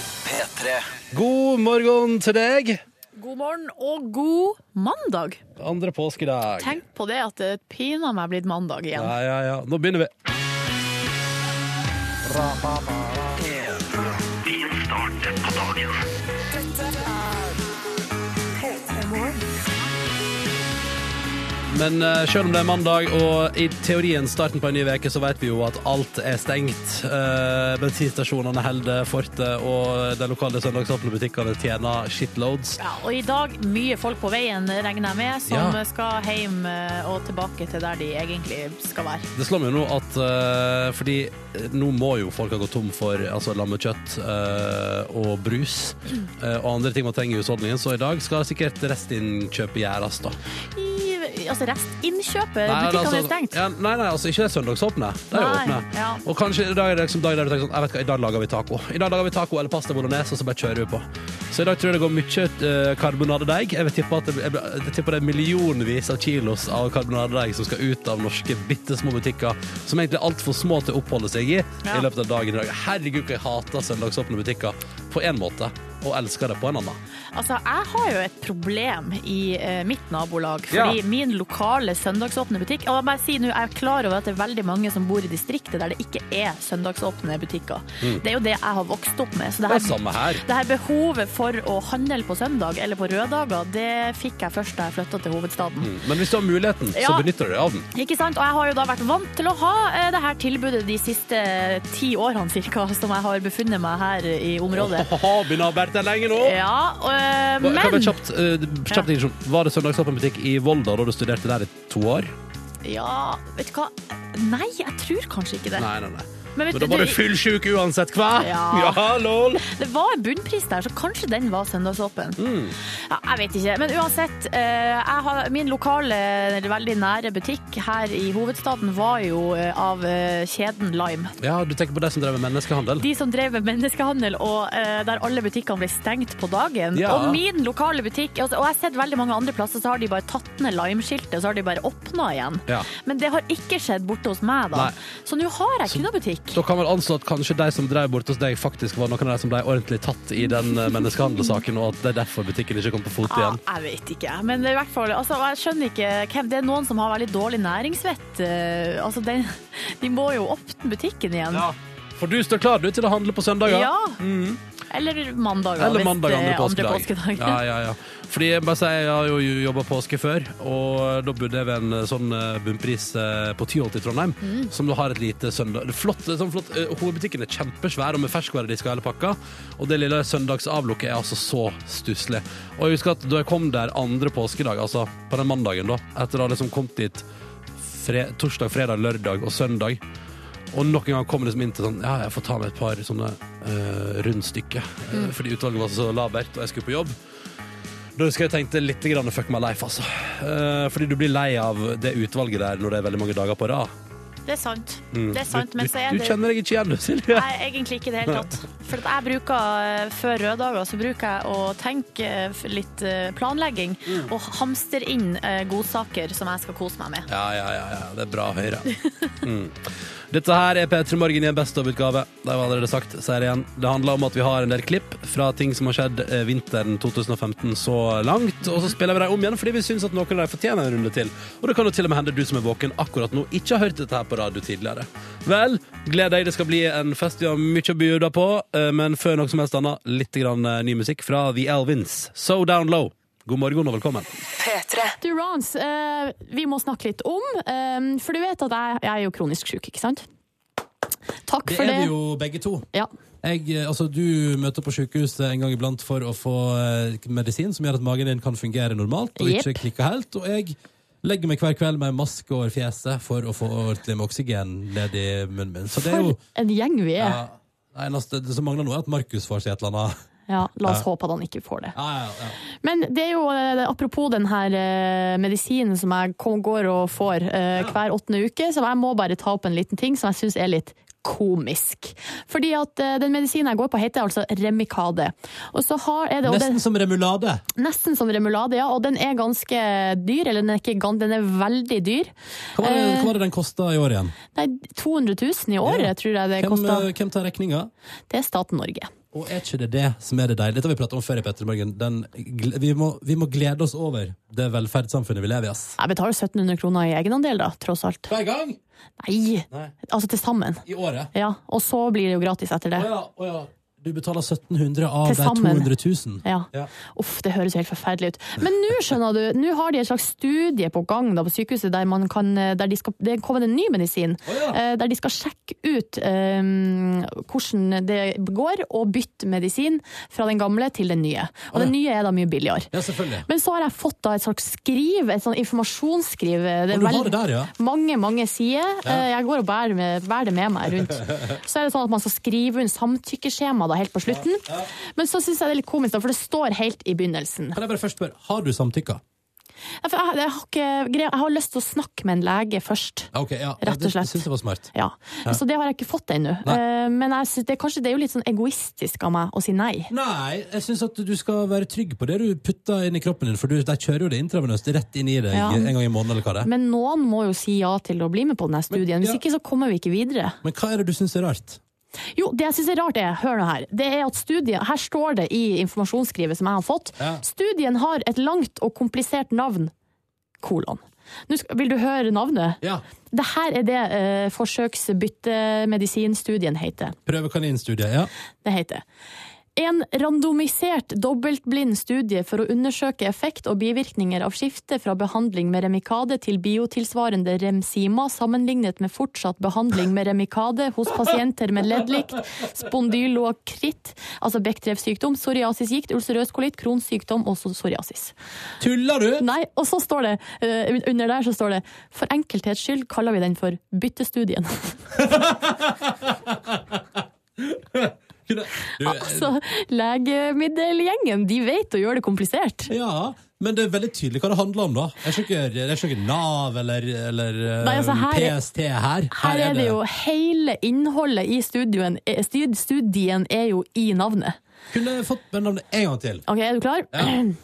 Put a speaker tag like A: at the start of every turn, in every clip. A: P3.
B: God morgen til deg.
C: God morgen og god mandag.
B: Andre påskedag.
C: Tenk på det at det piner meg blitt mandag igjen.
B: Ja, ja, ja. Nå begynner vi. Men eh, selv om det er mandag, og i teorien starten på en ny uke, så vet vi jo at alt er stengt. Eh, bensinstasjonene holder fortet, og de lokale søndagsåpne butikkene tjener shitloads.
C: Ja, og i dag mye folk på veien, regner jeg med, som
B: Ja.
C: skal hjem eh, og tilbake til der de egentlig skal være.
B: Det slår meg jo nå at eh, Fordi nå må jo folk ha gått tom for altså, lammekjøtt eh, og brus eh, og andre ting man trenger i husholdningen, så i dag skal sikkert restinnkjøpet gjøres, da.
C: I, altså restinnkjøpet,
B: Nei,
C: butikkene
B: altså-
C: er stengt.
B: Ja, nei, nei, altså ikke det er søndagsåpne. Det er jo
C: Nei,
B: åpne.
C: ja.
B: Og kanskje i dag er det liksom dag der du tenker sånn Jeg vet hva, i dag lager vi taco. I dag lager vi taco eller pasta bolognese, og så bare kjører vi på. Så i dag tror jeg det går mye eh, karbonadedeig. Jeg vil tippe at det, jeg, jeg tipper det er millionvis av kilos av karbonadedeig som skal ut av norske bitte små butikker, som egentlig er altfor små til å oppholde seg i
C: Ja.
B: i løpet av dagen i dag. Herregud, hva jeg hater søndagsåpne butikker på én måte, og elsker det på en annen.
C: Altså, jeg har jo et problem i eh, mitt nabolag,
B: Ja.
C: fordi min lokale søndagsåpne butikk Og jeg bare si nå, jeg er klar over at det er veldig mange som bor i distriktet der det ikke er søndagsåpne butikker. Det er jo det jeg har vokst opp med. Så det
B: Mm. Det er
C: her,
B: samme her.
C: det her behovet for å handle på søndag eller på røddager, det fikk jeg først da jeg flytta til hovedstaden.
B: Men hvis du har muligheten, så
C: Ja.
B: benytter du deg av den.
C: Ikke sant? Og jeg har jo da vært vant til å ha eh, det her tilbudet de siste ti årene cirka, som jeg har befunnet meg her i området.
B: Åh, begynner å ha vært der lenge nå!
C: Ja, eh,
B: Hva- Kan jeg bare
C: men
B: kjapt, eh, kjapt digresjon. Var det søndagsåpen butikk i Volda da du studerte der i to år?
C: Ja, vet du hva? Nei, jeg tror kanskje ikke det.
B: Nei, nei, nei.
C: Men, vet
B: Men da var du
C: det,
B: fullsjuk uansett, hva?
C: Ja.
B: lol!
C: det var en bunnpris der, så kanskje den var søndagsåpen.
B: Mm.
C: Ja, jeg vet ikke. Men uansett, eh, jeg har, min lokale, eller veldig nære butikk her i hovedstaden var jo eh, av eh, kjeden Lime.
B: Ja, du tenker på de som drev med menneskehandel?
C: De som drev med menneskehandel, og eh, der alle butikkene ble stengt på dagen.
B: Ja.
C: Og min lokale butikk, altså, og jeg har sett veldig mange andre plasser, så har de bare tatt ned Lime-skiltet, og så har de bare åpna igjen.
B: Ja.
C: Men det har ikke skjedd borte hos meg, da.
B: Nei.
C: Så nå har jeg ikke noe butikk.
B: Da kan vel anslå at kanskje de som drev bort hos deg, faktisk var noen av de som ble ordentlig tatt i den eh, menneskehandelsaken, og at det er derfor butikken ikke kom på fot
C: Ja,
B: igjen.
C: jeg vet ikke. Men i hvert fall, altså, jeg skjønner ikke hvem Det er noen som har veldig dårlig næringsvett. eh, Altså, den, de må jo åpne butikken igjen.
B: Ja. For du står klar du til å handle på søndager?
C: Ja. Eller mandager,
B: Eller
C: hvis
B: mandag eh,
C: det
B: andre
C: er
B: påskedag. Ja,
C: Ja,
B: ja, ja. Fordi jeg bare sier, jeg har jo jobba påske før, og da bodde jeg ved en sånn eh, bunnpris eh, på Tyholt i Trondheim, som du har et lite søndag... det er Flott, det er sånn flott. eh, Hovedbutikken er kjempesvær, og med ferskvaredisk og hele pakka, og det lille søndagsavlukket er altså så stusslig. Og jeg husker at da jeg kom der andre påskedag, altså på den mandagen da, etter å ha liksom kommet dit fre torsdag, fredag, lørdag og søndag, og nok en gang kom det liksom inn til sånn Ja, jeg får ta med et par sånne eh, rundstykker. eh,
C: Mm.
B: Fordi utvalget var så labert, og jeg skulle på jobb. Da husker jeg jeg tenkte litt grann fuck my life, altså. Eh, fordi du blir lei av det utvalget der når det er veldig mange dager på rad.
C: Det er sant. Det er sant,
B: Du, Mm.
C: men
B: du,
C: så er
B: du
C: det
B: kjenner deg ikke igjen, du, Silje.
C: Nei, egentlig ikke i det hele tatt. For at jeg bruker, eh, før røddager, så bruker jeg å tenke eh, f- litt eh, planlegging
B: Mm.
C: og hamstre inn eh, godsaker som jeg skal kose meg med.
B: Ja, ja, ja, ja. Det er bra Høyre. Mm. Dette her er P3 Morgen i en best of-utgave. Det har jeg allerede sagt, sier jeg igjen. Det handler om at vi har en del klipp fra ting som har skjedd eh, vinteren 2015 så langt, og så spiller vi dem om igjen fordi vi syns at noen av dem fortjener en runde til. Og det kan jo til og med hende du som er våken akkurat nå, ikke har hørt dette her på radio tidligere. Vel, gled deg, det skal bli en fest vi har mye å bjuda på, eh, men før noe som helst annet, litt grann eh, ny musikk fra The Elvins. So Down Low. God morgen og velkommen.
D: Durance, eh, vi må snakke litt om, eh, for du vet at jeg, jeg er jo kronisk syk, ikke sant? Takk
B: Det
D: for
B: er
D: det.
B: vi jo begge to.
D: Ja.
B: Jeg, eh, altså, du møter på sykehus en gang iblant for å få eh, medisin som gjør at magen din kan fungere normalt og
D: Jepp.
B: ikke klikke helt. Og jeg legger meg hver kveld med en maske over fjeset for å få ordentlig med oksygen ned i munnen min. Så det er jo
D: For en gjeng vi er.
B: ja, Det eneste det som mangler nå, er at Markus får seg et eller annet.
D: Ja, la oss håpe at han ikke får det.
B: Ja, ja, ja.
D: Men det er jo eh, apropos den her eh, medisinen som jeg kom- går og får eh, hver åttende uke, så jeg må bare ta opp en liten ting som jeg syns er litt komisk. Fordi at eh, den medisinen jeg går på, heter altså Remicade. Og så har, er det, og den,
B: Nesten som remulade.
D: Nesten som remulade, ja. Og den er ganske dyr. Eller den er, ikke, gan- den er veldig dyr. Eh,
B: Hva var det, hva var det den kosta i år igjen?
D: Nei, 200 000 i året,
B: Ja.
D: tror jeg det
B: Hvem,
D: kosta.
B: eh, hvem tar regninga?
D: Det er staten Norge.
B: Og er ikke det det som er det deilige? Dette har vi pratet om før i Petremorgen. Den, gle- vi, må, vi må glede oss over det velferdssamfunnet vi lever i, ass.
C: Jeg betaler 1700 kroner i egenandel, da, tross alt.
B: Hver gang!
C: Nei!
B: Nei,
C: Altså til sammen.
B: i året.
C: Ja, og så blir det jo gratis etter det.
B: Å ja, å ja. Du betaler 1700 av
C: Til
B: de
C: sammen.
B: 200 000.
C: Ja.
B: Ja.
C: Uff, det høres jo helt forferdelig ut. Men nå skjønner du, nå har de et slags studie på gang da, på sykehuset der, man kan, eh, der de skal, det er kommet en ny medisin.
B: Å ja.
C: eh, Der de skal sjekke ut eh, hvordan det går å bytte medisin fra den gamle til den nye. Og den nye er da mye billigere.
B: ja, selvfølgelig.
C: Men så har jeg fått da et slags skriv, et sånn informasjonsskriv. eh, Det
B: Og
C: er
B: du har
C: veldig-
B: det der, ja.
C: mange, mange sider. Eh, Jeg går og bærer, med, bærer det med meg rundt. Så er det sånn at man skal skrive inn samtykkeskjema da, helt på slutten. Men så syns jeg det er litt komisk, da, for det står helt i begynnelsen.
B: Kan jeg bare først spørre, har du samtykka?
C: Ja, for Jeg, jeg, har, ikke, greie- jeg har lyst til å snakke med en lege først.
B: Ja, ok, ja.
C: Rett og
B: Det-
C: slett.
B: Det synes jeg var smart.
C: Ja. Så det har jeg ikke fått ennå.
B: Nei.
C: Eh, Men jeg synes det, kanskje det er jo litt sånn egoistisk av meg å si nei.
B: Nei, jeg syns at du skal være trygg på det du putter inn i kroppen din, for du, de kjører jo det intravenøst rett inn i deg
C: Ja.
B: en gang i måneden, eller hva det er.
C: Men noen må jo si ja til å bli med på denne studien. Hvis
B: ja.
C: ikke så kommer vi ikke videre.
B: Men hva er det du syns er rart?
C: Jo, det jeg synes er rart er, hør nå her, det er at studien, her står det i informasjonsskrivet som jeg har fått,
B: Ja.
C: studien har et langt og komplisert navn, kolon. Nå skal, vil du høre navnet?
B: Ja,
C: Dette er det eh, forsøksbyttemedisinstudien heter.
B: Prøvekaninstudiet, ja.
C: Det heter. En randomisert dobbeltblind studie for å undersøke effekt og bivirkninger av skifte fra behandling med remikade til biotilsvarende remsima sammenlignet med fortsatt behandling med remikade hos pasienter med leddlikt, spondylokritt, altså bekkreftsykdom, psoriasisgikt, ulcerøs kolitt, kronsykdom og psoriasis.
B: Tuller du?!
C: Nei, og så står det, eh, under der så står det, for enkelthets skyld kaller vi den for byttestudien.
B: Kunne- Du,
C: altså, legemiddelgjengen, de vet å gjøre det komplisert.
B: ja, men det er veldig tydelig hva det handler om, da. Det er ikke, det er ikke Nav eller, eller
C: Nei, altså, her
B: eh,
C: er-
B: PST her.
C: Her er det jo hele innholdet i studien, eh, stud- studien er jo i navnet.
B: Kunne jeg fått med navnet en gang til.
C: Ok, er du klar?
B: Ja.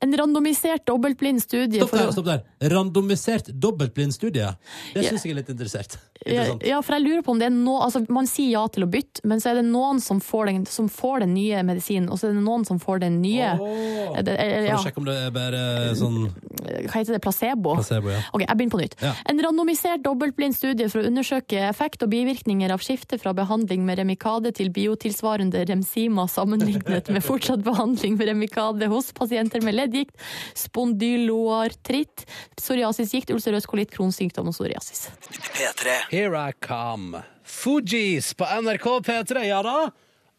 C: En randomisert dobbeltblind studie
B: Stopp
C: for
B: der.
C: å-
B: stopp der Randomisert dobbeltblindstudie. Det syns jeg er litt interessert.
C: ja,
B: interessant.
C: ja, for jeg lurer på om det er noe altså Man sier ja til å bytte, men så er det noen som får den, som får den nye medisinen, og så er det noen som får den nye
B: Åh.
C: Eh, det- eh,
B: Kan
C: ja,
B: du sjekke om det er bare sånn
C: Hva heter det? Placebo?
B: placebo, ja.
C: Ok, jeg begynner på nytt.
B: Ja.
C: En randomisert dobbeltblind studie for å undersøke effekt og bivirkninger av skifte fra behandling med remikade til biotilsvarende remsima sammenlignet med fortsatt behandling med remikade hos pasienter med leddgikt, spondyloartritt, psoriasisgikt, ulcerøs kolitt, kronsykdom og psoriasis.
B: Here I come. Fugees på NRK P3, ja da.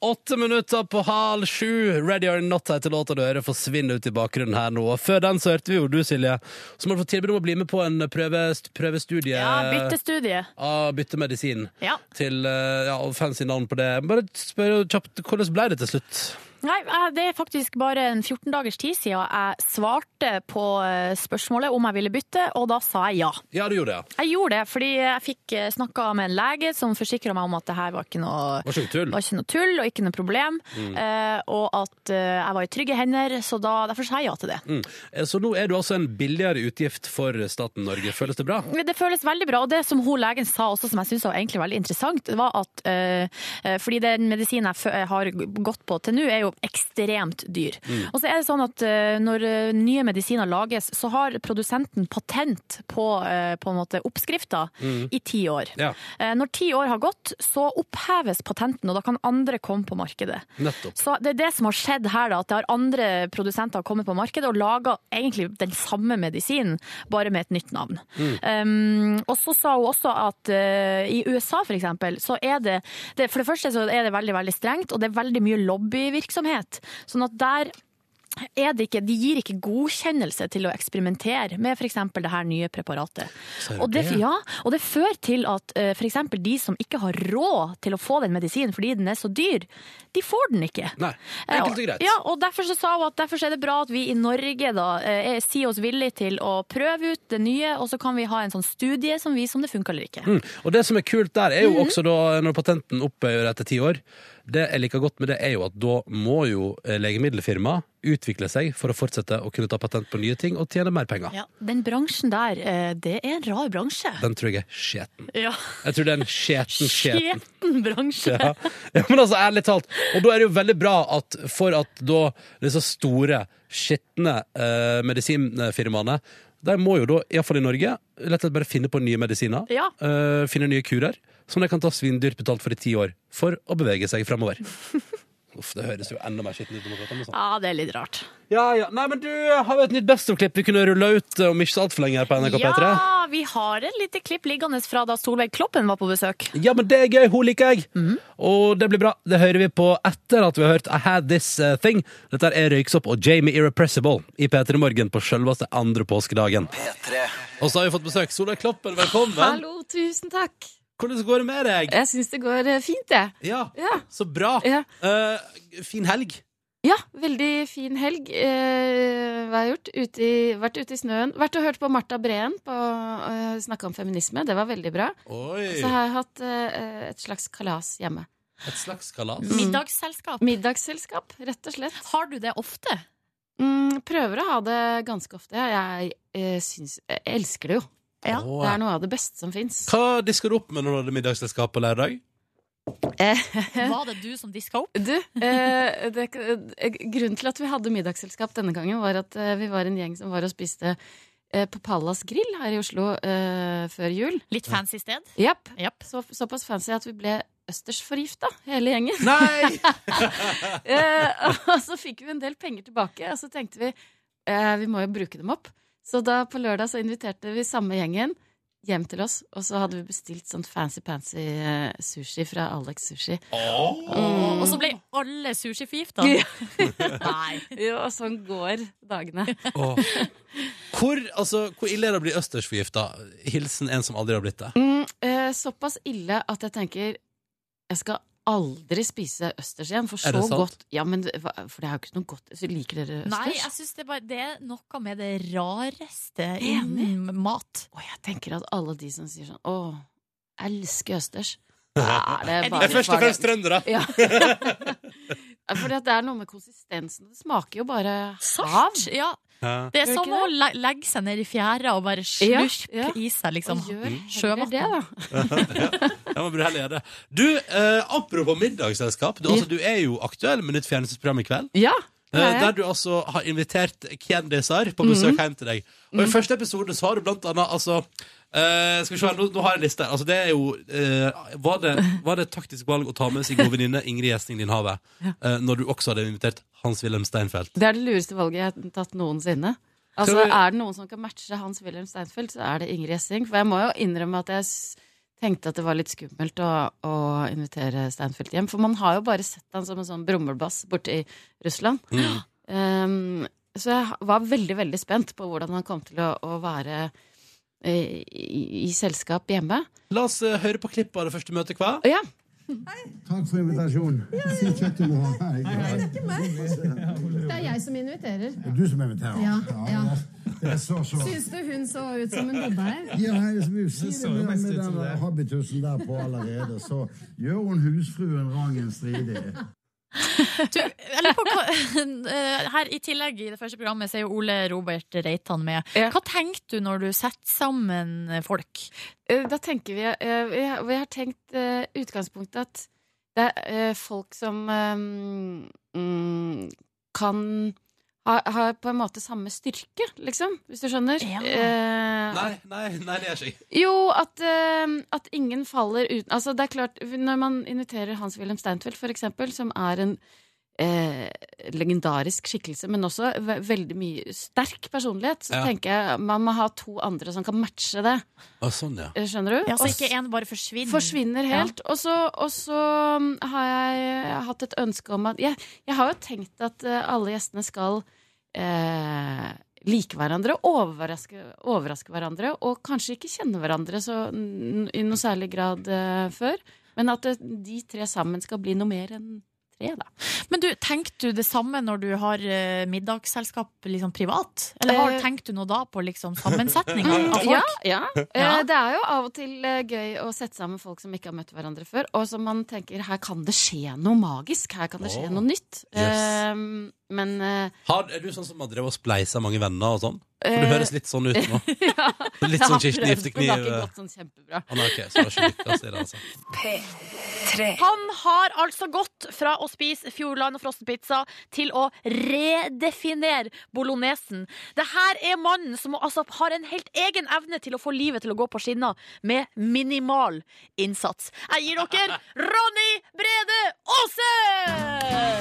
B: Åtte minutter på halv sju. Ready or not heter låta du hører forsvinne ut i bakgrunnen her nå. Og Før den så hørte vi jo du, Silje, som hadde fått tilbud om å bli med på en prøve, prøvestudie
A: Ja, byttestudie.
B: av byttemedisin.
A: Ja.
B: Til eh, ja, og fancy navn på det. Bare spør kjapt, hvordan ble det til slutt?
A: Nei, jeg- det er faktisk bare en 14 dagers tid siden jeg svarte på eh, spørsmålet om jeg ville bytte, og da sa jeg ja.
B: Ja, du gjorde det, ja.
A: Jeg gjorde det fordi jeg fikk eh, snakka med en lege som forsikra meg om at det her var ikke noe
B: Var sjukt tull. Mm.
A: var ikke noe tull og ikke noe problem, eh, og at eh, jeg var i trygge hender, så da, derfor sa jeg ja til det.
B: Mm. Eh, Så nå er du altså en billigere utgift for staten Norge. Føles det bra?
A: Det føles veldig bra, og det som hun legen sa også, som jeg synes var egentlig veldig interessant, det var at eh, eh, fordi den medisinen jeg fø- har gått på til nå er jo ekstremt dyr.
B: Mm.
A: Og så er det sånn at eh, når eh, nye medisiner lages, så har produsenten patent på, eh, på en måte oppskrifter i ti år.
B: Mm. Ja.
A: Eh, Når ti år har gått, så oppheves patenten, og da kan andre komme på markedet.
B: Nettopp.
A: Så det er det som har skjedd her, da, at det har andre produsenter kommet på markedet og laga egentlig den samme medisinen, bare med et nytt navn. Um, og så sa hun også at eh, i USA for eksempel, så er det, det For det første så er det veldig, veldig strengt, og det er veldig mye lobbyvirksomhet. Sånn at der er det ikke, de gir ikke godkjennelse til å eksperimentere med f.eks. det her nye preparatet.
B: Sier du
A: Og det,
B: det?
A: ja, og det fører til at eh, for f.eks. de som ikke har råd til å få den medisinen fordi den er så dyr, de får den ikke.
B: Nei. Enkelt og greit.
A: Ja, og derfor så sa hun at derfor så er det bra at vi i Norge da eh, er- sier oss villige til å prøve ut det nye, og så kan vi ha en sånn studie som viser om det funker eller ikke.
B: Mm. Og det som er kult der, er jo også da når patenten opphører etter ti år. Det jeg liker godt med det, er jo at da må jo eh, legemiddelfirma utvikle seg for å fortsette å kunne ta patent på nye ting og tjene mer penger.
C: Ja, den bransjen der, eh, det er en rar bransje.
B: Den tror jeg er skjeten.
C: Ja.
B: Jeg tror det er en skjeten, skjeten
C: Skjeten bransje.
B: ja. ja, men altså, ærlig talt. Og da er det jo veldig bra at for at da disse store, skitne eh, medisinfirmaene de må jo da, iallfall i Norge, lett og slett bare finne på nye medisiner.
C: Ja.
B: eh, finne nye kurer som de kan ta svindyrt betalt for i ti år, for å bevege seg framover. Uff, det høres jo enda mer skittent ut. om å prate om det sånn.
C: Ja, det er litt rart.
B: Ja, ja. Nei, men du har jo et nytt Best of-klipp vi kunne rulle ut eh, om ikke så altfor lenge her på NRK P3.
C: Ja, vi har et lite klipp liggende fra da Solveig Kloppen var på besøk.
B: Ja, men det er gøy, hun liker jeg Og det blir bra, det hører vi på etter at vi har hørt I Had This eh, Thing Dette er Røyksopp og Jamie Irrepressible I P3 Morgen på selveste andre påskedagen Og så har vi fått besøk, Sola Kloppen, velkommen
A: Hallo, tusen takk.
B: Hvordan går det med deg?
A: Jeg syns det går eh, fint, jeg.
B: Ja,
A: Ja.
B: så bra
A: Ja.
B: Eh, Fin helg
A: ja, veldig fin helg. Eh, hva har jeg gjort? Ute i, vært ute i snøen. Vært og hørt på Marta Breen på eh, snakke om feminisme. Det var veldig bra.
B: Oi,
A: Så har jeg hatt eh, et slags kalas hjemme.
B: et slags kalas
C: Middagsselskap.
A: Middagsselskap, rett og slett.
C: Har du det ofte?
A: Mm, prøver å ha det ganske ofte. Jeg, eh, syns Jeg elsker det jo.
C: Ja.
B: Åh.
A: Det er noe av det beste som fins.
B: Hva disker du opp med når du hadde middagsselskap på lærdag?
C: Var det du som diska opp?
A: Eh. Du, eh, det, eh, grunnen til at vi hadde middagsselskap denne gangen, var at eh, vi var en gjeng som var og spiste eh, på Pallas Grill her i Oslo eh, før jul.
C: Litt fancy sted?
A: Japp.
C: Japp.
A: Så, såpass fancy at vi ble østersforgifta, hele gjengen.
B: Nei!
A: Eh, og så fikk vi en del penger tilbake, og så tenkte vi eh, vi må jo bruke dem opp. Så da på lørdag så inviterte vi samme gjengen hjem til oss, og så hadde vi bestilt sånn fancy-pancy eh, sushi fra Alex Sushi. Mm.
C: Og så ble alle sushiforgifta?
A: Ja.
C: Nei.
A: Jo, og sånn går dagene.
B: Åh. Hvor, altså, hvor ille er det å bli østersforgifta? Hilsen en som aldri har blitt det
A: Mm, eh, såpass ille at jeg tenker Jeg skal aldri spise østers igjen, for
B: Er
A: så
B: det sant?
A: godt Ja, men det- hva- For det er jo ikke noe godt Så Liker dere østers?
C: Nei, jeg syns det, er bare- det er noe med det rareste
A: Enig.
C: innen mat.
A: Og jeg tenker at alle de som sier sånn Åh, elsker østers Da er
C: Jeg
A: det bare
C: er
B: Først og fremst trøndere
A: ja. Fordi at det er noe med konsistensen Det smaker jo bare hav
C: Sart? Ja.
B: Ja.
C: Det er
A: Gjør
C: som
A: ikke
C: å le- legge seg ned i fjæra og bare
A: Ja,
C: slurpe
A: ja.
C: i seg, liksom.
A: Og gjør heller
C: Sjøvann.
A: det da
B: Ja, man burde heller gjøre det. Du, eh, apropos middagsselskap. Du, altså, du er jo aktuell med nytt fjernsynsprogram i kveld.
A: Ja,
B: eh,
A: det er jeg. Mhm.
B: der du altså har invitert kjendiser på besøk hjem til deg. Og i første episode så har du blant annet altså eh, Skal vi se, her, nå, nå har jeg en liste. her. Altså, det er jo eh, var, det, var det et taktisk valg å ta med sin gode venninne Ingrid Gjesting Lindhave eh, når du også hadde invitert Hans-Wilhelm Steinfeld?
A: Det er det lureste valget jeg har tatt noensinne. Altså,
B: Tror du-
A: Er det noen som kan matche Hans-Wilhelm Steinfeld, så er det Ingrid Essing. For jeg må jo innrømme at jeg s- tenkte at det var litt skummelt å, å invitere Steinfeld hjem. For man har jo bare sett han som en sånn brummelbass borte i Russland.
B: Mm.
A: Um, så jeg var veldig, veldig spent på hvordan han kom til å, å være eh, i, i selskap hjemme.
B: La oss eh, høre på klippet av det første møtet, hva?
A: Og ja,
E: Takk for invitasjonen. Si kjøttet du har her. ikke sant?
F: Det er jeg som inviterer.
E: Det er du som inviterer.
F: Ja, ja.
E: Det er så, så.
F: Syns du hun så ut som hun bodde her?
E: Ja, jeg vil si det med, med den habitusen der på allerede, så gjør hun husfruen Rangen stridig.
C: Du, jeg lurer på hva, eh, her I tillegg i det første programmet så er jo Ole Robert Reitan med.
A: Ja.
C: Hva tenkte du når du setter sammen eh, folk?
A: Eh, Da tenker vi eh, Vi har, vi har tenkt eh, utgangspunktet at det er eh, folk som eh, mm, kan ha, har på en måte samme styrke, liksom, hvis du skjønner.
C: Ja.
A: Eh,
B: Nei, nei, nei, det er ikke jeg.
A: jo, at, eh, at ingen faller uten Altså, det er klart, når man inviterer Hans-Wilhelm Steinfeld, for eksempel, som er en eh, legendarisk skikkelse, men også ve veldig mye sterk personlighet, så
B: Ja.
A: tenker jeg man må ha to andre som kan matche det.
B: Å, sånn, ja.
A: Eh, Skjønner du?
C: Ja, så
A: Og s-
C: ikke én bare forsvinner.
A: Forsvinner helt. Og, så, og så um, har jeg hatt et ønske om at Jeg, jeg har jo tenkt at eh, alle gjestene skal eh, like hverandre, overraske, overraske hverandre, og kanskje ikke kjenne hverandre så, eh, n i noe særlig grad eh, før. Men at det, de tre sammen skal bli noe mer enn
D: fredag.
C: Men du, tenker du det samme når du har eh, middagsselskap liksom privat? Eller har,
A: Eh.
C: tenker du nå da på liksom sammensetninga av folk?
A: Mm, Ja, ja.
C: Ja.
A: Eh, Det er jo av og til eh, gøy å sette sammen folk som ikke har møtt hverandre før, og som man tenker her kan det skje noe magisk, her kan det skje
B: Åh.
A: noe nytt.
B: Yes.
A: Eh, Men eh,
B: Har, er du sånn som har drevet og spleisa mange venner og sånn? For
A: eh,
B: det høres litt sånn ut nå.
A: ja,
B: Litt
A: jeg har
B: sånn Kirsti
A: prøvd, men Det har
B: Giftekniv.
A: ikke gått sånn kjempebra.
B: Han er ok, så har ikke lykkes i det, altså.
C: Han har altså gått fra å spise Fjordland og frossenpizza til å redefinere bolognesen. Det her er mannen som altså har en helt egen evne til å få livet til å gå på skinner med minimal innsats. Jeg gir dere Ronny Brede Aase!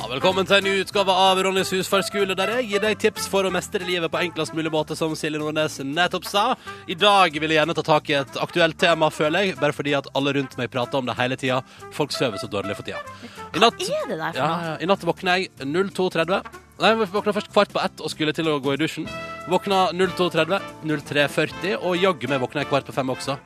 B: Ja, velkommen til en ny utgave av Ronnys husfarskole, der jeg gir deg tips for å mestre livet på enklest mulig måte, som Silje Nordnes nettopp sa. I dag vil jeg gjerne ta tak i et aktuelt tema, føler jeg, bare fordi at alle rundt meg prater om det hele tida. Folk sover så dårlig for tida. I natt,
C: Hva er det der for
B: ja,
C: noe?
B: ja, I natt våkna jeg 02.30. Nei, jeg våkna først kvart på ett og skulle til å gå i dusjen. Våkna 02.30, 03.40, og jaggu meg våkna jeg kvart på fem også.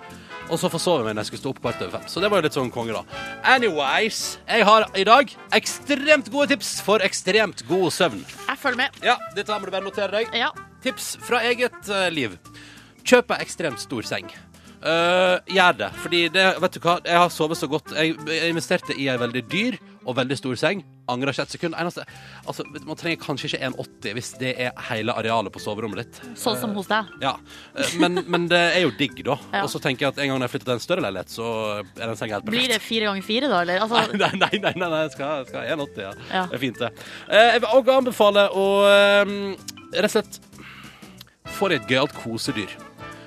B: Og så forsov jeg meg når jeg skulle stå opp kvart over fem. Så det var jo litt sånn konge, da. Anyways, jeg har i dag ekstremt gode tips for ekstremt god søvn.
C: Jeg følger med.
B: Ja, dette her må du bare notere deg.
C: Ja.
B: Tips fra eget eh, liv. Kjøp ei ekstremt stor seng. Eh, gjør det. Fordi det, vet du hva, jeg har sovet så godt. Jeg, jeg investerte i ei veldig dyr og veldig stor seng. Angrer ikke et sekund. Eneste, altså, man trenger kanskje ikke 1,80 hvis det er hele arealet på soverommet ditt.
C: Sånn som hos deg.
B: Ja, eh, men, men det er jo digg, da.
C: Ja.
B: Og så tenker jeg at en gang når jeg flytter til en større leilighet, så er den senga helt perfekt.
C: Blir det fire ganger fire, da? Eller? Altså,
B: Nei, nei, nei, nei, nei jeg skal, jeg skal ha 1,80, ja.
C: Ja.
B: Det er fint, det. Eh, Jeg vil også anbefale å eh, rett og slett få deg et gøyalt kosedyr.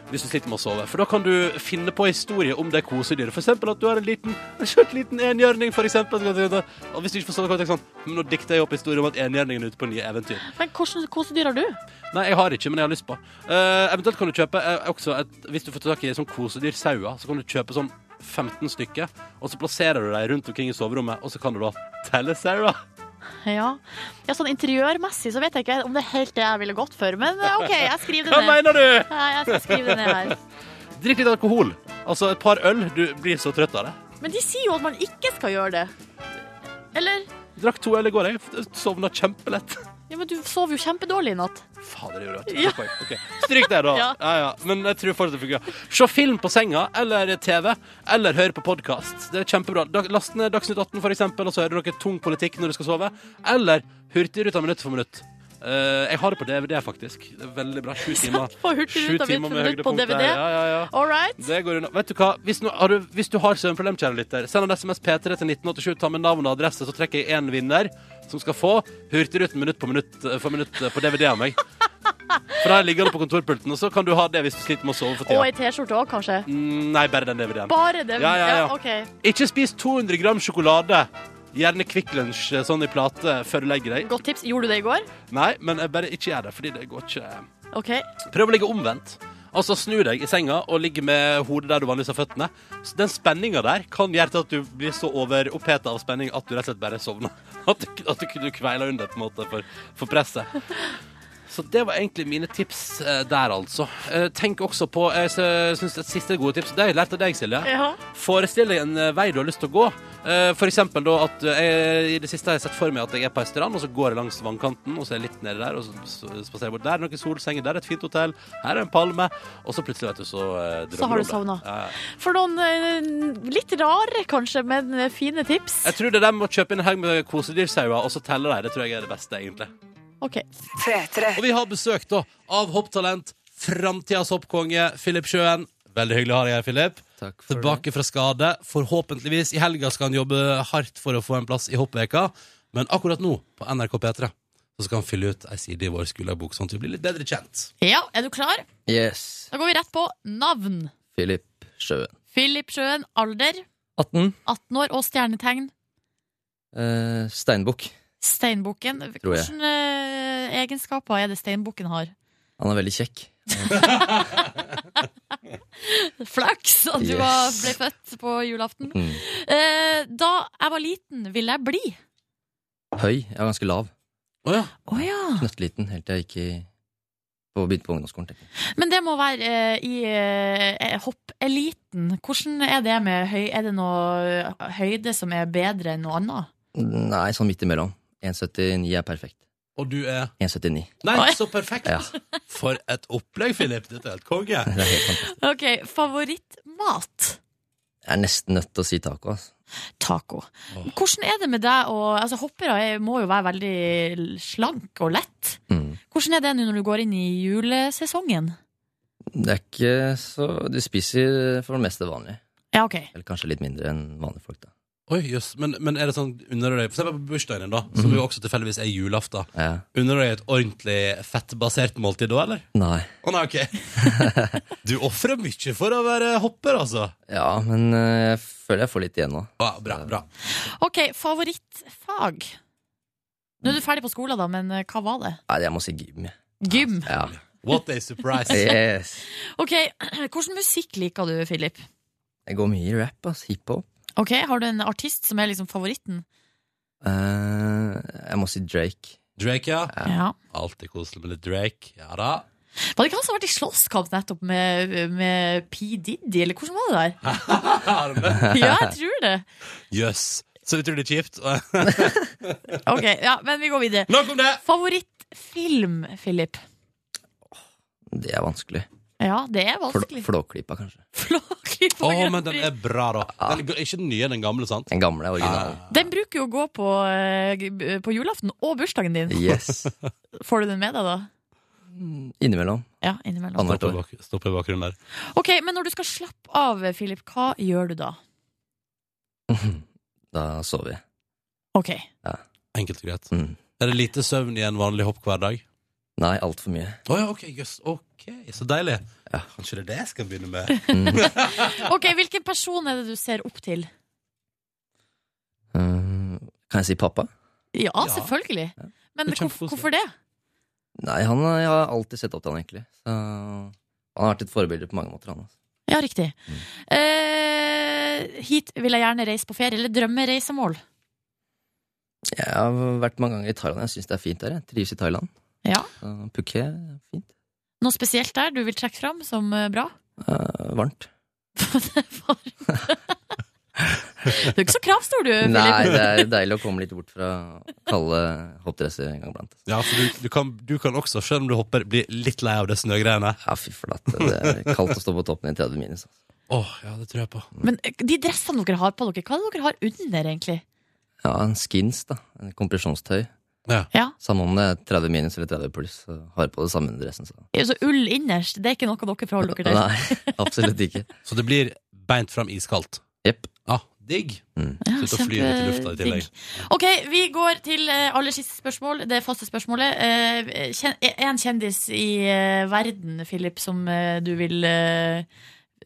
B: Hvis du sliter med å sove. For da kan du finne på historie om det kosedyret. For eksempel at du har en liten en skjørt liten enhjørning, for eksempel. Og hvis du ikke får sove, kan du tenke sånn "Hm, Nå dikter jeg opp historie om at enhjørningen er ute på nye eventyr.
C: men hvordan kosedyr har du?
B: Nei, jeg har ikke, men jeg har lyst på. Eh, eventuelt kan du kjøpe eh, også et, Hvis du får tak i sånn kosedyrsauer, så kan du kjøpe sånn 15 stykker, og så plasserer du dem rundt omkring i soverommet, og så kan du da telle sauer.
C: Ja. ja, sånn interiørmessig så vet jeg ikke om det er helt det jeg ville gått for, men eh, OK, jeg skriver
B: Hva
C: det ned.
B: mener du?
C: Nei, jeg skal skrive det ned her.
B: Drikk litt alkohol. Altså et par øl. Du blir så trøtt av det.
C: Men de sier jo at man ikke skal gjøre det. Eller?
B: Drakk to øl i går, jeg. Sovna kjempelett.
C: Ja, men du sov jo kjempedårlig i natt.
B: Fader, det gjorde jeg.
C: Ja.
B: Takk for meg. Ok, Stryk det, da. Ja.
C: Ja.
B: Ja, Men jeg tror fortsatt det fungerer. Se film på senga eller TV, eller hør på podkast. Det er kjempebra. Dag- Last ned Dagsnytt 18, for eksempel, og så hører du noe tung politikk når du skal sove. Eller Hurtigruta minutt for minutt. Eh, jeg har det på DVD, faktisk. Det er veldig bra. Sju timer.
C: På Hurtigruta
B: Sju timer
C: minutt for minutt på
B: høydepunkt der.
C: DVD.
B: Ja, ja, ja.
C: All right.
B: Det går unna. Vet du hva? Hvis, nå, har, du, hvis du har søvnproblem, kjære lytter, send en SMS P3 til 1987, ta med navn og adresse, så trekker jeg én vinner som skal få Hurtigruten minutt på minutt eh, for minutt eh, på DVD av meg. For der ligger det på kontorpulten, og så kan du ha det hvis du sliter med å sove for
C: Og
B: tida.
C: ei T-skjorte òg, kanskje.
B: Mm, Nei, bare den DVD-en.
C: Bare det.
B: Ja, ja, ja.
C: OK.
B: Ikke spis 200 gram sjokolade. Gjerne Kvikk Lunsj eh, sånn i plate før du legger deg.
C: Godt tips. Gjorde du det i går?
B: Nei, men eh, bare ikke gjør det, fordi det går ikke eh,
C: OK.
B: Prøv å ligge omvendt. Altså snu deg i senga og ligge med hodet der du vanligvis har føttene. Så Den spenninga der kan gjøre til at du blir så overoppheta av spenning at du rett og slett bare sovner. At du, at du, du kveiler under på en måte for, for presset. Så det var egentlig mine tips eh, der, altså. Eh, tenk også på Jeg syns et siste gode tips. Det har jeg lært av deg, Silje.
C: Ja.
B: Forestill deg en eh, vei du har lyst til å gå. Eh, For eksempel da at eh, jeg, I det siste har jeg sett for meg at jeg er på en strand, og så går jeg langs vannkanten, og så er jeg litt nede der, og så s- spaserer jeg bort. Der er noen solsenger, der er et fint hotell, her er en palme, og så plutselig, vet du, så eh, drømmer
C: Så har du
B: om det.
C: sovna.
B: Ja, ja.
C: For noen eh, litt rare, kanskje, men fine tips.
B: Jeg tror det der med å kjøpe inn en haug med kosedyrsauer og så telle dem, det tror jeg er det beste, egentlig.
C: OK.
B: Og vi har besøk da av hopptalent, framtidas hoppkonge, Philip Sjøen. Veldig hyggelig å ha deg her, Philip.
G: Takk for
B: Tilbake fra skade. Forhåpentligvis i helga skal han jobbe hardt for å få en plass i hoppveka. Men akkurat nå, på NRK P3, så skal han fylle ut ei side i vår skulderbok, sånn at vi blir litt bedre kjent.
D: Ja, er du klar?
G: det. Yes.
D: Da går vi rett på navn.
G: Filip Sjøen.
D: Philip Sjøen, alder
G: 18.
D: 18 år og stjernetegn.
G: Eh, Steinbukk.
D: Steinbukken.
G: Tror jeg.
D: Hvilke eh, egenskaper er det steinbukken har?
G: Han er veldig kjekk.
D: Flaks at du
G: Yes.
D: var, ble født på julaften.
G: Mm.
D: Eh, da jeg var liten, ville jeg bli.
G: Høy. Jeg er ganske lav.
B: Å ja.
D: Å ja.
G: Knøttliten helt til jeg gikk i på å begynne på ungdomsskolen. tenker jeg.
C: Men det må være eh, i eh, hoppeliten. Hvordan er det med høy... Er det noe
D: eh,
C: høyde som er bedre enn noe annet?
G: Nei, sånn midt imellom. 1,79 er perfekt.
B: Og du er
G: 1,79.
B: Nei, så perfekt!
G: Ja.
B: For et opplegg, Philip. Dette er helt konge.
G: Det er helt fantastisk.
C: Ok, favorittmat?
G: Jeg er nesten nødt til å si taco. Altså.
C: Taco. Hvordan er det med deg og altså, Hoppere er- må jo være veldig slank og lett.
G: Mm.
C: Hvordan er det nå når du går inn i julesesongen?
G: Det er ikke så Du spiser for det meste vanlig.
C: Ja, ok.
G: Eller kanskje litt mindre enn vanlige folk, da.
B: Oi, jøss. Men, men er det sånn unner du deg For eksempel på bursdagen din, da,
G: Mhm.
B: som jo også tilfeldigvis er julaften.
G: Ja.
B: Unner du deg et ordentlig fettbasert måltid da, eller?
G: Nei.
B: Å nei, ok. Du ofrer mye for å være hopper, altså.
G: Ja, men eh, jeg føler jeg får litt igjen nå.
B: Ja, bra, bra.
C: Ok, favorittfag? Nå er du ferdig på skolen, da, men eh, hva var det?
G: Nei, jeg må si gym. jeg.
C: Gym.
G: Ja.
B: What a surprise.
G: Yes.
C: Ok, Hvordan musikk liker du, Philip?
G: Jeg går mye i rap, altså. Hiphop.
C: Ok, Har du en artist som er liksom favoritten?
G: Eh, jeg må si Drake.
B: Drake, ja.
G: Ja.
C: Ja.
B: Alltid koselig med litt Drake. Ja da.
C: Var det ikke han som har vært i slåsskamp nettopp med, med P. Diddy, eller hvordan var det der? Ja, jeg tror det.
B: Jøss. Så utrolig kjipt.
C: Ok, ja, Men vi går videre.
B: Nok om det!
C: Favorittfilm, Philip?
G: Det er vanskelig.
C: Ja, det er
G: Flå,
C: vanskelig.
G: flåklypa, kanskje.
C: Flåklypa
B: Å,
C: Grand
B: men den
C: Prix.
B: er bra, da. Den, er ikke den nye, den gamle, sant?
G: Den gamle er originalen.
C: Den bruker jo å gå på, eh, g- på julaften og bursdagen din.
G: Yes.
C: Får du den med deg, da?
G: Innimellom.
C: Ja, innimellom.
G: Annethvert
B: Stopp i
G: år.
B: bak- Stopp i bakgrunnen der.
C: Ok, Men når du skal slappe av, Philip, hva gjør du da?
G: Da sover jeg.
C: Ok,
B: Enkelt og greit.
G: Mm.
B: Er det lite søvn i en vanlig hopp hver dag?
G: Nei, altfor mye.
B: Å ja, ok, jøss. Ok, så deilig.
G: Ja.
B: Kanskje det er det jeg skal begynne med?
C: Ok, Hvilken person er det du ser opp til?
G: Eh, kan jeg si pappa?
C: Ja,
B: Ja.
C: selvfølgelig. Men
B: Det er
C: hvorf-
B: kjempekoselig.
C: hvorfor det?
G: Nei, han, har- jeg har alltid sett opp til han, egentlig. Så han har vært et forbilde på mange måter, han. Altså.
C: Ja, riktig. Eh, hit vil jeg gjerne reise på ferie, eller drømmereisemål.
G: Jeg har vært mange ganger i Thailand. Jeg syns det er fint der. Jeg trives i Thailand.
C: Ja.
G: Så Phuket, fint.
C: Noe spesielt der du vil trekke fram som eh, bra?
G: Eh, varmt.
C: du er ikke så kravstor, du, Philip.
G: Nei, det er deilig å komme litt bort fra kalde hoppdresser en gang iblant. altså.
B: Ja, for du, du, kan, du kan også, selv om du hopper, bli litt lei av det snøgreiene.
G: Ja, fy flate. Det er kaldt å stå på toppen i 30 minus. Altså.
B: Åh, ja, det tror jeg på.
C: Men eh, de dressene dere har på dere, hva er det dere har under, egentlig?
G: Ja, en skins, da. En kompresjonstøy.
C: Ja,
G: Samme om det er 30 minus eller 30 pluss, så har jeg på det samme under dressen. Så.
C: så Ull innerst, det er ikke noe dere forholder dere til?
G: Nei, absolutt ikke.
B: Så det blir beint fram iskaldt.
G: Jepp.
B: Ja, digg.
G: Mm.
C: Ja,
B: Slutt å fly litt i lufta i tillegg.
C: kjempedigg. Ok, vi går til eh, aller siste spørsmål, det faste spørsmålet. Eh, kjen- En kjendis i eh, verden, Philip, som eh, du vil eh,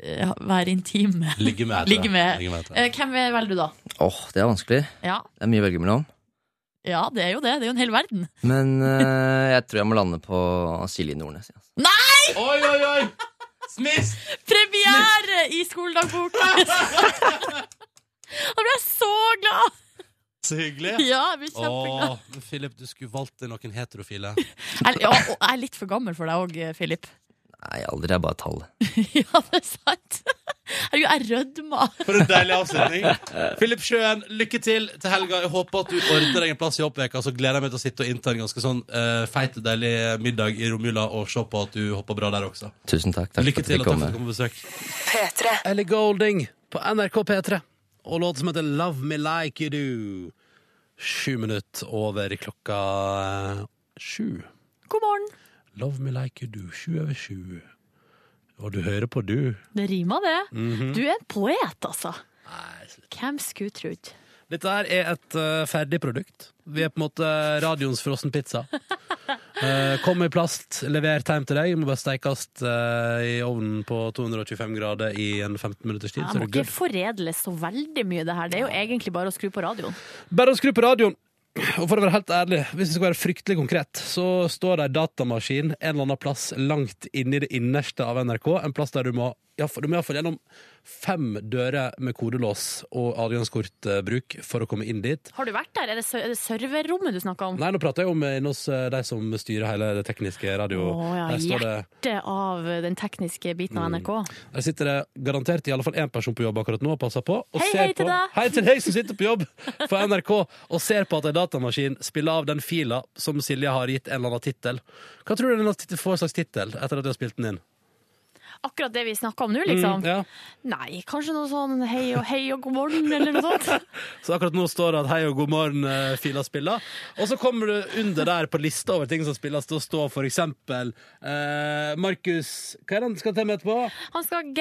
C: eh, være intim med.
B: Ligge med. tror jeg.
C: Ligge med.
B: Ligge med tror jeg.
C: Eh, Hvem velger du da?
G: Åh, det er vanskelig.
C: Ja.
G: Det er mye å velge mellom.
C: ja, det er jo det. Det er jo en hel verden.
G: Men eh, jeg tror jeg må lande på Silje Nordnes. ja.
B: Oi, oi, oi! Smiss!
C: Premiere i skoledagboken! Da ble jeg så glad!
B: Så hyggelig.
C: Ja, jeg blir kjempeglad.
B: Åh, men Philip, du skulle valgt deg noen heterofile.
C: Jeg, ja, og jeg er litt for gammel for deg òg, Philip.
G: Nei, alder er bare tall.
C: Ja, det er sant. Herregud, jeg rødma.
B: For en deilig avslutning. Philip Sjøen, lykke til til helga. Jeg håper at du ordner deg en plass i hoppveka, så gleder jeg meg til å sitte og innta en ganske sånn eh, feit, deilig middag i romjula og se på at du hopper bra der også.
G: Tusen takk. takk
B: Lykke
G: for at
B: til,
G: jeg
B: og
G: fikk
B: takk for at
G: komme.
B: du kom på besøk. Ellie Golding på NRK P3 og låt som heter Love Me Like You Do. Sju minutter over klokka eh, sju.
C: God morgen.
B: Love Me Like You Do, sju over sju. Og du hører på du.
C: Det rimer, det.
B: Mhm. Mm.
C: Du er en poet, altså. Hvem skulle trodd?
B: Dette her er et eh, ferdig produkt. Vi er på en måte radioens frossen pizza. Eh, kom i plast, levert hjem til deg. Må bare steikes eh, i ovnen på 225 grader i en 15 minutters tid.
C: Jeg
B: så er det
C: må ikke
B: good.
C: foredle så veldig mye, det her. Det er jo egentlig bare å skru på radioen.
B: Bare å skru på radioen. Og for å være helt ærlig, hvis jeg skal være fryktelig konkret, så står det en datamaskin en eller annen plass langt inni det innerste av NRK, en plass der du må ja, for- du må iallfall gjennom fem dører med kodelås og adgangskortbruk for å komme inn dit.
C: Har du vært der? Er det, ser- er det serverrommet du snakker om?
B: Nei, nå prater jeg om eh, inne hos eh, de som styrer hele det tekniske radio.
C: Å, ja,
B: der, står det, Mm.
C: Det av den tekniske biten av NRK.
B: der sitter det garantert i alle fall én person på jobb akkurat nå og passer på. Og
C: Hei,
B: ser
C: hei til
B: på,
C: deg.
B: Hei til deg som sitter på jobb for NRK og ser på at en datamaskin spiller av den fila som Silje har gitt en eller annen tittel. Hva tror du den har titt- får slags tittel etter at du har spilt den inn?
C: Akkurat det vi snakker om nå,
B: Mm,
C: liksom.
B: ja.
C: Nei, kanskje noe sånn hei og hei og god morgen, eller noe sånt.
B: Så akkurat nå står det at 'Hei og god morgen, eh, fila spiller'. Og så kommer du under der på lista over ting som spilles. Da står for eksempel eh, Markus Hva er det han skal til med etterpå?
C: Han skal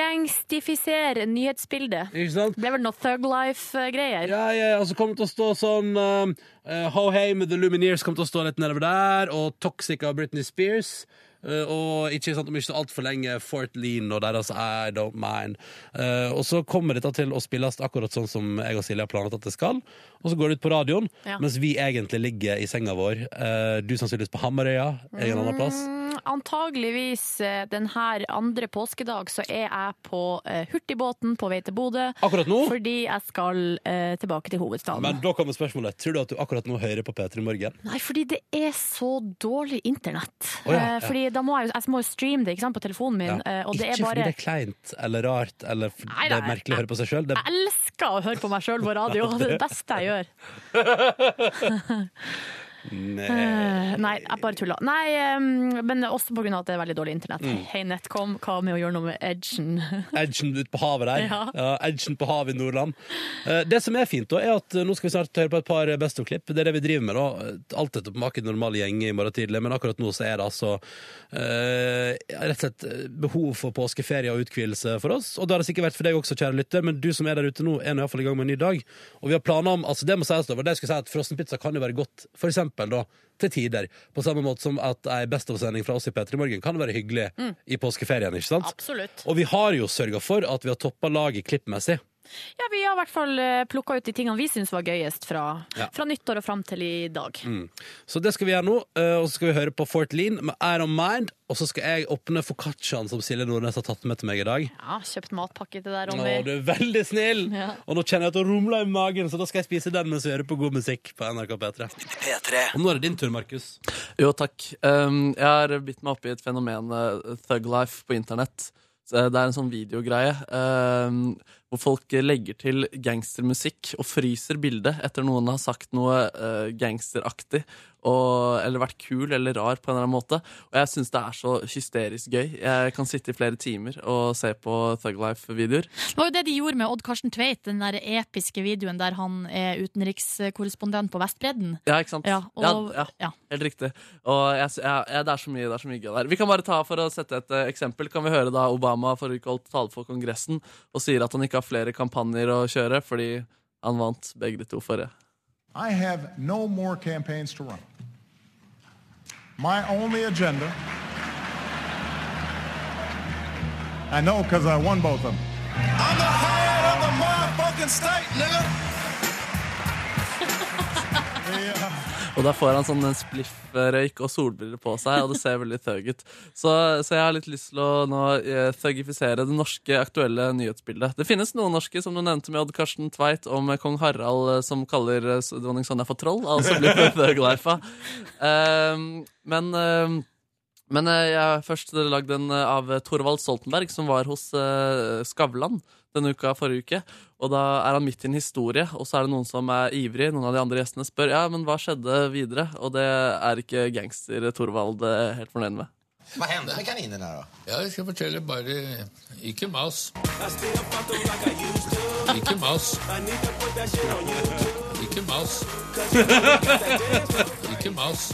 C: gangstifisere nyhetsbildet.
B: Ikke sant?
C: Det er vel noe Thug Life-greier.
B: Ja, ja, og så kommer det til å stå sånn um, eh, Ho Hey med The Lumineers kommer til å stå litt nedover der, og Toxic av Britney Spears. eh, og ikke sant, om ikke så altfor lenge Fort Lean og deres I Don't Mind. Eh, og så kommer dette til å spilles akkurat sånn som jeg og Silje har planlagt at det skal. Og så går det ut på radioen,
C: Ja.
B: mens vi egentlig ligger i senga vår. Eh, du sannsynligvis på Hamarøya, jeg en annen plass.
C: Mm, Antageligvis eh, den her andre påskedag så er jeg på eh, hurtigbåten på vei til Bodø.
B: Akkurat nå.
C: Fordi jeg skal eh, tilbake til hovedstaden.
B: Men da kommer spørsmålet. Tror du at du akkurat nå hører på P3 Morgen?
C: Nei, fordi det er så dårlig internett.
B: Å ja,
C: Eh,
B: ja.
C: Fordi da må jeg, jo- jeg må jo streame det ikke sant, på telefonen min, eh, og det
B: ikke
C: er bare
B: fordi det er kleint eller rart eller f-
C: Nei,
B: det er
C: nei,
B: merkelig å høre på seg sjøl.
C: Jeg elsker å høre på meg sjøl på radio. Det er det beste jeg gjør. Eh, Nei, jeg bare tulla. Nei, eh, men også på grunn av at det er veldig dårlig internett.
B: Mm.
C: Hei, Netcom, hva med å gjøre noe med edgen?
B: Edgen ut på havet der. Ja.
C: Ja.
B: edgen på havet i Nordland. Eh, Det som er fint, da, er at eh, nå skal vi snart høre på et par bestoklipp. Det er det vi driver med. da. Alt dette på maken normal gjeng i morgen tidlig, men akkurat nå så er det altså eh, rett og slett eh, behov for påskeferie og uthvilelse for oss. Og det har det sikkert vært for deg også, kjære lytter, men du som er der ute nå, er nå iallfall i gang med en ny dag. Og vi har planer om altså Det må sies, da, for det jeg skulle si at frossenpizza kan jo være godt, for eksempel, da, til tider. På samme måte som at ei Best of-sending fra oss i P3 Morgen kan være hyggelig i påskeferien, ikke sant?
C: Absolutt.
B: Og vi har jo sørga for at vi har toppa laget klippmessig.
C: Ja, vi har i hvert fall plukka ut de tingene vi syns var gøyest fra,
B: Ja.
C: fra nyttår og fram til i dag.
H: Mm.
B: Så det skal vi gjøre nå. eh, Og så skal vi høre på Fort Lean med Air of Mind. Og så skal jeg åpne foccacciaen som Silje Nordnes har tatt med til meg i dag.
C: Ja, Kjøpt matpakke til deg,
B: Å,
C: Ronny.
B: du er veldig snill!
C: Ja.
B: Og nå kjenner jeg at det rumler i magen, så da skal jeg spise den mens vi hører på god musikk på NRK P3. Og nå er det din tur, Markus.
I: Jo, takk. Um, jeg har bitt meg opp i et fenomen, eh, thug life, på internett. Så, eh, Det er en sånn videogreie um, hvor folk eh, legger til gangstermusikk og fryser bildet etter noen har sagt noe eh, gangsteraktig og, eller vært kul eller rar på en eller annen måte. Og jeg syns det er så hysterisk gøy. Jeg kan sitte i flere timer og se på thug life-videoer.
D: Det var jo det de gjorde med Odd Karsten Tveit, den der episke videoen der han er utenrikskorrespondent på Vestbredden.
I: Ja, ikke sant?
D: Ja, og,
I: ja, ja.
D: ja.
I: Helt riktig. Og jeg, sy- ja, ja, det, er så mye, det er så mye gøy der. Vi kan bare ta For å sette et eh, eksempel kan vi høre da Obama forrige uke holdt tale for Kongressen og sier at han ikke har flere kampanjer å kjøre fordi han vant begge de to forrige.
J: I have no more campaigns to run. My only agenda, I know because I won both of them. I'm the head of the motherfucking state, nigga.
I: Og da får han sånn en spliff-røyk og solbriller på seg, og det ser veldig thug ut. Så, så jeg har litt lyst til å nå eh, thugifisere det norske aktuelle nyhetsbildet. Det finnes noen norske, som du nevnte med Odd Karsten Tveit, og med kong Harald, eh, som kaller eh, s- dronning Sonja for troll. Altså blir det thug-life av. Ehm, men ehm, men eh, jeg har først lagd en eh, av Thorvald Stoltenberg, som var hos eh, Skavlan denne uka forrige uke. Og da er han midt i en historie, og så er det noen som er ivrig. Noen av de andre gjestene spør ja, men hva skjedde videre, og det er ikke gangster Thorvald eh, helt fornøyd med.
H: Hva hender med kaninene her, da? Ja, Jeg skal fortelle bare Ikke mas. Ikke mas. Ikke mas. Ikke mas.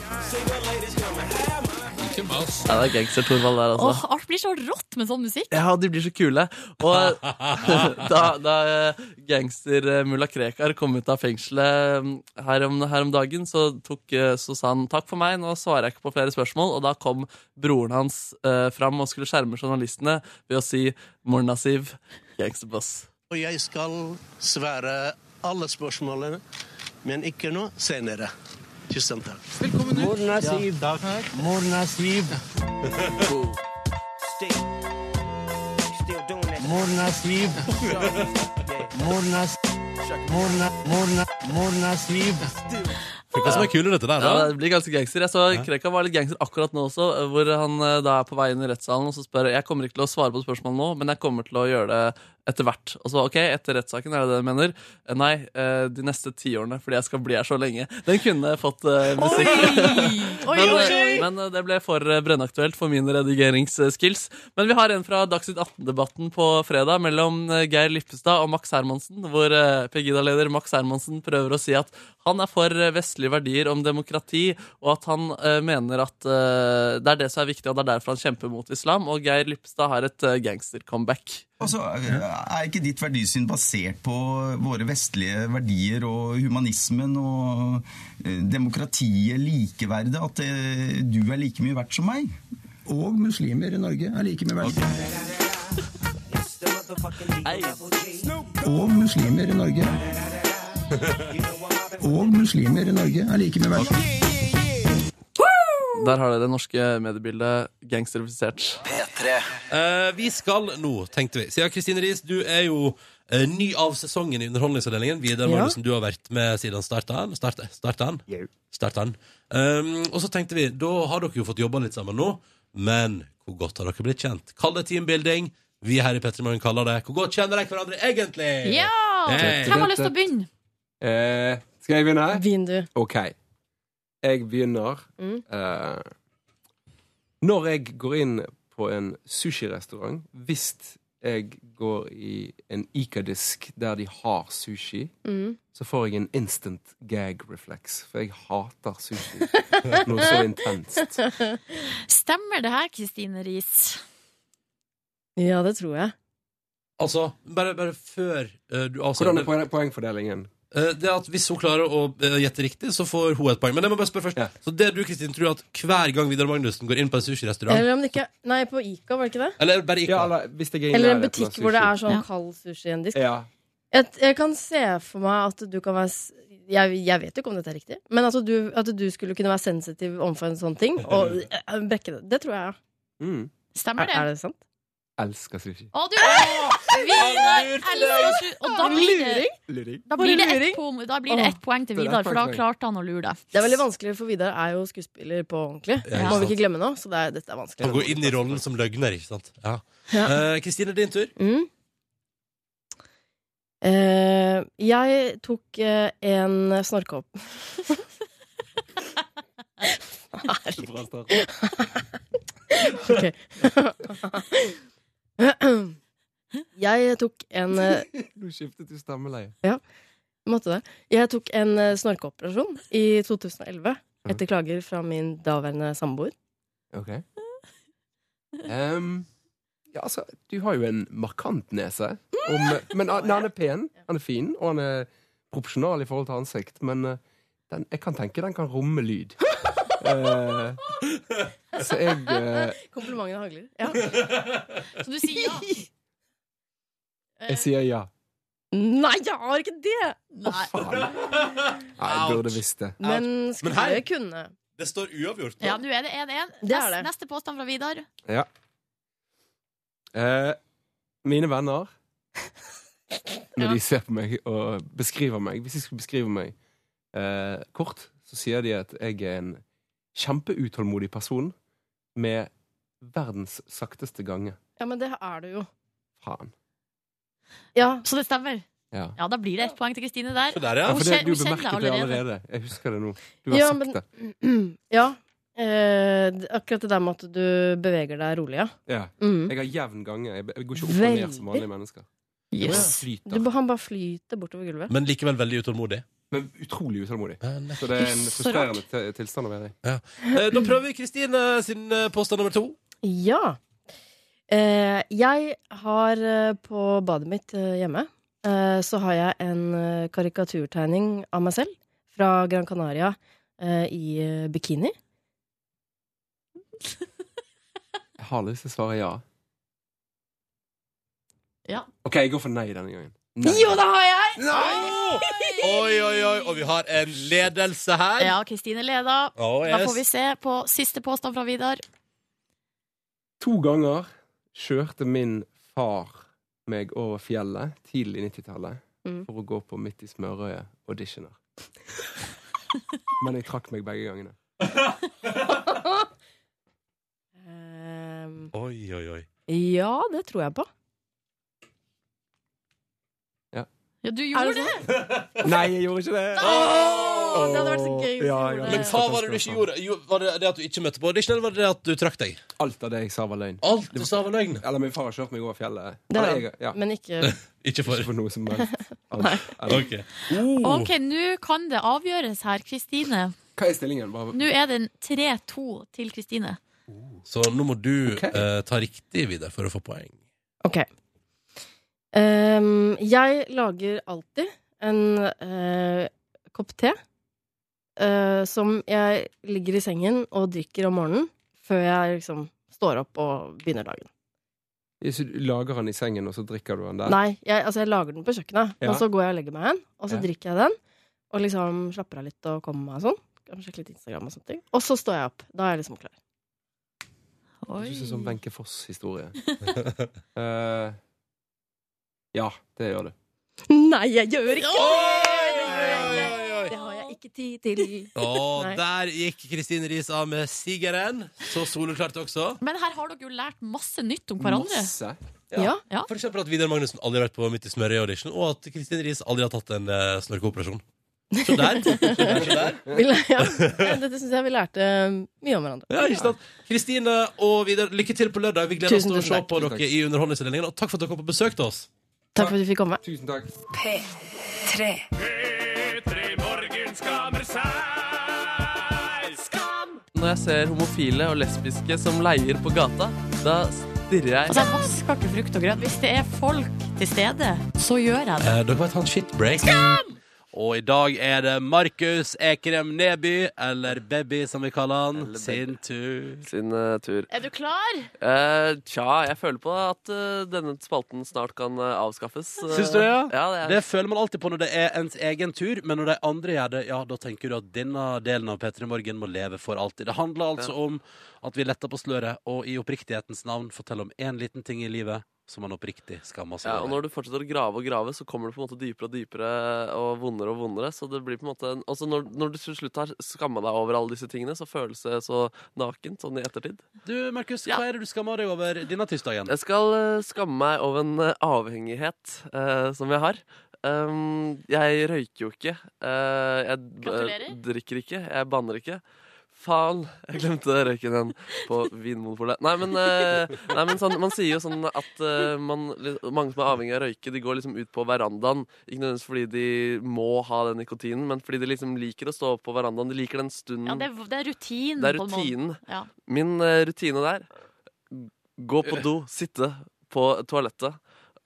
H: Ikke mas.
I: Ja, det er gangster Thorvald der, altså.
D: Åh, alt blir så rått med sånn musikk!
I: Ja, de blir så kule. Og da, da eh, gangster eh, mulla Krekar kom ut av fengselet mm, her om, her om dagen, så, tok, eh, så sa han takk for meg, nå svarer jeg ikke på flere spørsmål. Og da kom broren hans eh, fram og skulle skjerme journalistene ved å si Mornasiv, gangsterboss.
K: Og jeg skal svære alle spørsmålene men ikke nå, senere. Tusen takk.
L: Velkommen ut. Morna Siv.
K: Ja, takk.
L: Morna Siv. Morna Siv. Morna Morna, morna, morna Siv.
I: Hva
B: som er kul i dette der, da?
I: Ja, det blir ganske gangster. Jeg så Krekar var litt gangster akkurat nå også, hvor han eh, da er på vei inn i rettssalen og så spør Jeg kommer ikke til å svare på spørsmål nå, men jeg kommer til å gjøre det etter hvert. Og så, ok, etter rettssaken, er det det du mener? Eh, Nei, eh, de neste ti årene, fordi jeg skal bli her så lenge. Den kunne fått eh, musikk.
C: Oi,
I: men,
C: oi,
I: eh, men eh, det ble for eh, brennaktuelt for mine redigeringsskills. Men vi har en fra Dagsnytt 18-debatten på fredag mellom eh, Geir Lippestad og Max Hermansen, hvor eh, Pegida-leder Max Hermansen prøver å si at han er for eh, vestlige verdier om demokrati, og at han eh, mener at eh, det er det som er viktig, og det er derfor han kjemper mot islam. Og Geir Lippestad har et eh, gangster-comeback.
M: Altså, er ikke ditt verdisyn basert på våre vestlige verdier og humanismen og eh, demokratiet, likeverdet, at eh, du er like mye verdt som meg? Og muslimer i Norge er like mye verdt.
L: Og muslimer i Norge.
M: Og muslimer i Norge er like mye verdt.
I: Der har dere det norske mediebildet gangsterifisert.
B: Eh, vi skal nå, tenkte vi. Siden Kristine Riis, du er jo eh, ny av sesongen i Underholdningsavdelingen. Vidar
N: Ja.
B: Magnussen, du har vært med siden starten. Start, starten. starten. Um, og så tenkte vi, da har dere jo fått jobba litt sammen nå, men hvor godt har dere blitt kjent? Kall det teambuilding. Vi her i Petremorgen kaller det Hvor godt kjenner dere hverandre egentlig?
D: Ja!
B: Hey.
D: Hvem har lyst til å begynne?
N: Eh, skal jeg begynne?
O: Begynn du.
N: OK. Jeg begynner
O: Mm.
N: eh, Når jeg går inn på en sushirestaurant, hvis jeg går i en Ica-disk der de har sushi,
O: Mm.
N: så får jeg en instant gag-reflex, for jeg hater sushi. Noe så intenst.
D: Stemmer det her, Kristine Riis?
O: Ja, det tror jeg.
B: Altså, bare, bare før eh, du avsender
N: Hvordan er poeng- poengfordelingen?
B: Eh, Det er at Hvis hun klarer å eh, gjette riktig, så får hun et poeng. Men jeg må bare spørre først Så det du Kristin, tror at hver gang Vidar Magnussen går inn på en sushirestaurant
O: Eller om det ikke Nei, på Ica, var det ikke det?
B: Eller bare ikke
N: hvis jeg
O: Eller en butikk hvor det er sånn kald sushi i en disk. Jeg, jeg kan se for meg at du kan være s- jeg, jeg vet jo ikke om dette er riktig, men at du, at du skulle kunne være sensitiv overfor en sånn ting og eh, brekke det. Det tror jeg. ja.
N: Mm.
D: Stemmer det?
O: Er, er det sant?
N: Elsker sushi.
D: Å, du Vidar elsker su- Og da blir det,
N: Luring.
D: da blir det, ett, poeng, da blir det ett poeng til
O: Det er
D: Vidar,
O: et
D: for da
O: poeng.
D: klarte han å lure deg.
O: Det er veldig vanskelig, for Vidar er jo skuespiller på ordentlig.
B: Ja,
O: Må
B: ikke
O: vi ikke glemme nå, så det er, dette er vanskelig.
B: Han går inn i rollen som løgner, ikke sant? Ja. Eh, Kristine, din tur.
O: Mm. Eh, jeg tok eh, en snorkehopp.
N: Bra start.
O: Ok. jeg tok en eh,
N: Nå skiftet du stemmeleie.
O: Ja, jeg måtte det. Jeg tok en eh, snorkeoperasjon i 2011
N: Mhm.
O: etter klager fra min daværende samboer.
N: Ok. Ehm, ja, altså, du har jo en markant nese. Om, men han, han er pen, han er fin, og han er proporsjonal i forhold til ansikt. Men eh, den, jeg kan tenke den kan romme lyd. Eh, så jeg eh,
O: Komplimentene hagler. Ja.
D: Så du sier ja?
N: Jeg sier ja.
O: Nei, jeg har ikke det!
N: Nei, jeg burde visst det.
O: Men skulle jeg kunne
B: Det står uavgjort.
D: Ja, nå er det 1-1.
O: Det er det.
D: Neste påstand fra Vidar.
N: Ja. Eh, mine venner Når de ser på meg og beskriver meg Hvis de skulle beskrive meg eh, kort, så sier de at jeg er en kjempeutålmodig person med verdens sakteste gange.
O: Ja, men det er du jo.
N: Faen.
D: Så det stemmer?
N: Ja.
D: Ja, da blir det ett poeng til Kristine der.
N: Ja, for det,
D: Hun
N: du
D: kjen- hun
N: bemerket
D: kjenner
N: det
D: deg
N: allerede. Jeg husker det nå. Du har
O: ja,
N: sagt det.
O: men- Ja. Eh, d- akkurat det der med at du beveger deg rolig, ja.
N: Ja.
O: Mm.
N: Jeg har jevn gange. Jeg jeg går ikke opp og ned som
O: Veldig.
N: vanlige mennesker. Jeg bare
O: Yes.
N: flyter.
O: Du, han bare flyter bortover gulvet.
B: Men likevel veldig utålmodig.
N: Men utrolig utålmodig. Så det
B: nettopp.
N: er en
B: Så rart.
N: frustrerende til- tilstand å være i.
B: Eh, da prøver vi Kristine sin eh, påstand nummer to.
O: Ja. Eh, jeg har eh, på badet mitt eh, hjemme eh, så har jeg en eh, karikaturtegning av meg selv fra Gran Canaria eh, i eh, bikini.
N: Jeg har lyst til å svare ja.
D: Ja.
N: OK, jeg går for nei denne gangen.
O: Jo, det har jeg!
N: Nei!
B: Oi, oi, oi. Og vi har en ledelse her.
D: Ja, Kristine leda.
B: Å,
D: Da
B: yes.
D: får vi se på siste påstand fra Vidar.
N: To ganger kjørte min far meg over fjellet tidlig 90-tallet
D: Mm.
N: for å gå på Midt i smørøyet-auditioner. Men jeg trakk meg begge gangene.
O: Ehm,
B: Oi, oi, oi.
O: ja, det tror jeg på.
D: Ja, du
O: Er
D: gjorde
O: det sånn?
D: det!
N: Nei, jeg gjorde ikke det!
D: det hadde vært så gøy hvis du gjorde det.
B: Men hva var det du ikke gjorde? Jo, var det det at du ikke møtte på audition, eller var det det at du trakk deg?
N: Alt av det jeg sa var løgn.
B: Alt du sa var løgn?
N: Eller min far har kjørt meg over fjellet.
O: Det
N: Eller
O: har
N: jeg,
O: han, men ikke-
B: Ikke for
N: noe som helst.
O: Nei.
B: Ok. Oh.
D: OK, nå kan det avgjøres her, Kristine.
N: Hva er stillingen? Bare...
D: Nå er den 3-2 til Kristine.
B: Så nå må du eh, ta riktig, Vidar, for å få poeng.
O: Ok. Ehm, jeg lager alltid en eh, kopp te eh, som jeg ligger i sengen og drikker om morgenen før jeg liksom står opp og begynner dagen.
N: Så du lager han i sengen, og så drikker du han der?
O: Nei, jeg, altså jeg lager den på kjøkkenet,
N: Ja.
O: og så går jeg og legger meg igjen, og så
N: Ja.
O: drikker jeg den, og liksom slapper av litt og kommer meg og sånn. Kan Sjekke litt Instagram og sånne ting. Og så står jeg opp. Da er jeg liksom klar.
N: Det synes jeg er sånn Wenche Foss-historie. Eh, ja, det gjør du.
O: Nei, jeg gjør ikke
B: det!
O: Det har jeg ikke tid til.
B: Og
O: Nei.
B: der gikk Kristine Riis av med sigeren. Så soleklart også.
D: Men her har dere jo lært masse nytt om hverandre.
N: Masse.
O: Ja.
B: For eksempel at Vidar Magnussen aldri har vært på Midt i smørøyet-audition, og at Kristine Riis aldri har tatt en eh, snorkeoperasjon. Så der. Så der, så der.
O: Vi lær- ja. Ja, Dette syns jeg vi lærte eh, mye om hverandre.
B: Ja, ikke sant? Kristine og Vidar, lykke til på lørdag. Vi gleder oss
O: Tusen,
B: til å
O: tusen
B: se
O: takk.
B: på
O: Tusen
B: dere i Underholdningsavdelingen. Og takk for at dere kom på besøk til oss.
O: Takk for at du fikk komme.
N: Tusen takk.
L: P3. P3 Morgen skammer seg. Skam!
I: Når jeg ser homofile og lesbiske som leier på gata, da stirrer
D: Altså,
I: jeg
D: jeg vasker ikke frukt og grønt. Hvis det er folk til stede, så gjør jeg det.
B: Eh, dere må ta en shitbreak. Og i dag er det Markus Ekrem Neby, eller Baby som vi kaller han, sin tur.
I: Sin eh, tur.
D: Er du klar?
I: Eh, tja, jeg føler på at eh, denne spalten snart kan eh, avskaffes. Eh,
B: Syns du det, ja?
I: ja det, er,
B: Det føler man alltid på når det er ens egen tur, men når de andre gjør det, ja, da tenker du at denne delen av P3 Morgen må leve for alltid. Det handler altså om at vi letter på sløret, og i oppriktighetens navn forteller om én liten ting i livet som man oppriktig skammer seg
I: Ja, og
B: over.
I: når du fortsetter å grave og grave, så kommer det på en måte dypere og dypere og vondere og vondere. Så det blir på en måte en- Altså når, når du til slutt har skamma deg over alle disse tingene, så føles det så nakent sånn i ettertid.
B: Du, Markus, hva er det du skammer deg over denne tirsdagen?
I: Jeg skal eh, skamme meg over en eh, avhengighet eh, som jeg har. Um, jeg røyker jo ikke. eh, jeg b-
L: Gratulerer.
I: drikker ikke. Jeg banner ikke. Faen, jeg glemte røyken igjen på Vinmonopolet. Nei, men, eh, nei, men sånn, man sier jo sånn at eh, man, li- mange som er avhengig av å røyke, de går liksom ut på verandaen. Ikke nødvendigvis fordi de må ha den nikotinen, men fordi de liksom liker å stå på verandaen. De liker den stunden.
D: Ja, det, er- det er rutinen.
I: Det er
D: på en måte.
I: rutinen.
D: Ja.
I: Min eh, rutine der Gå på do, sitte på toalettet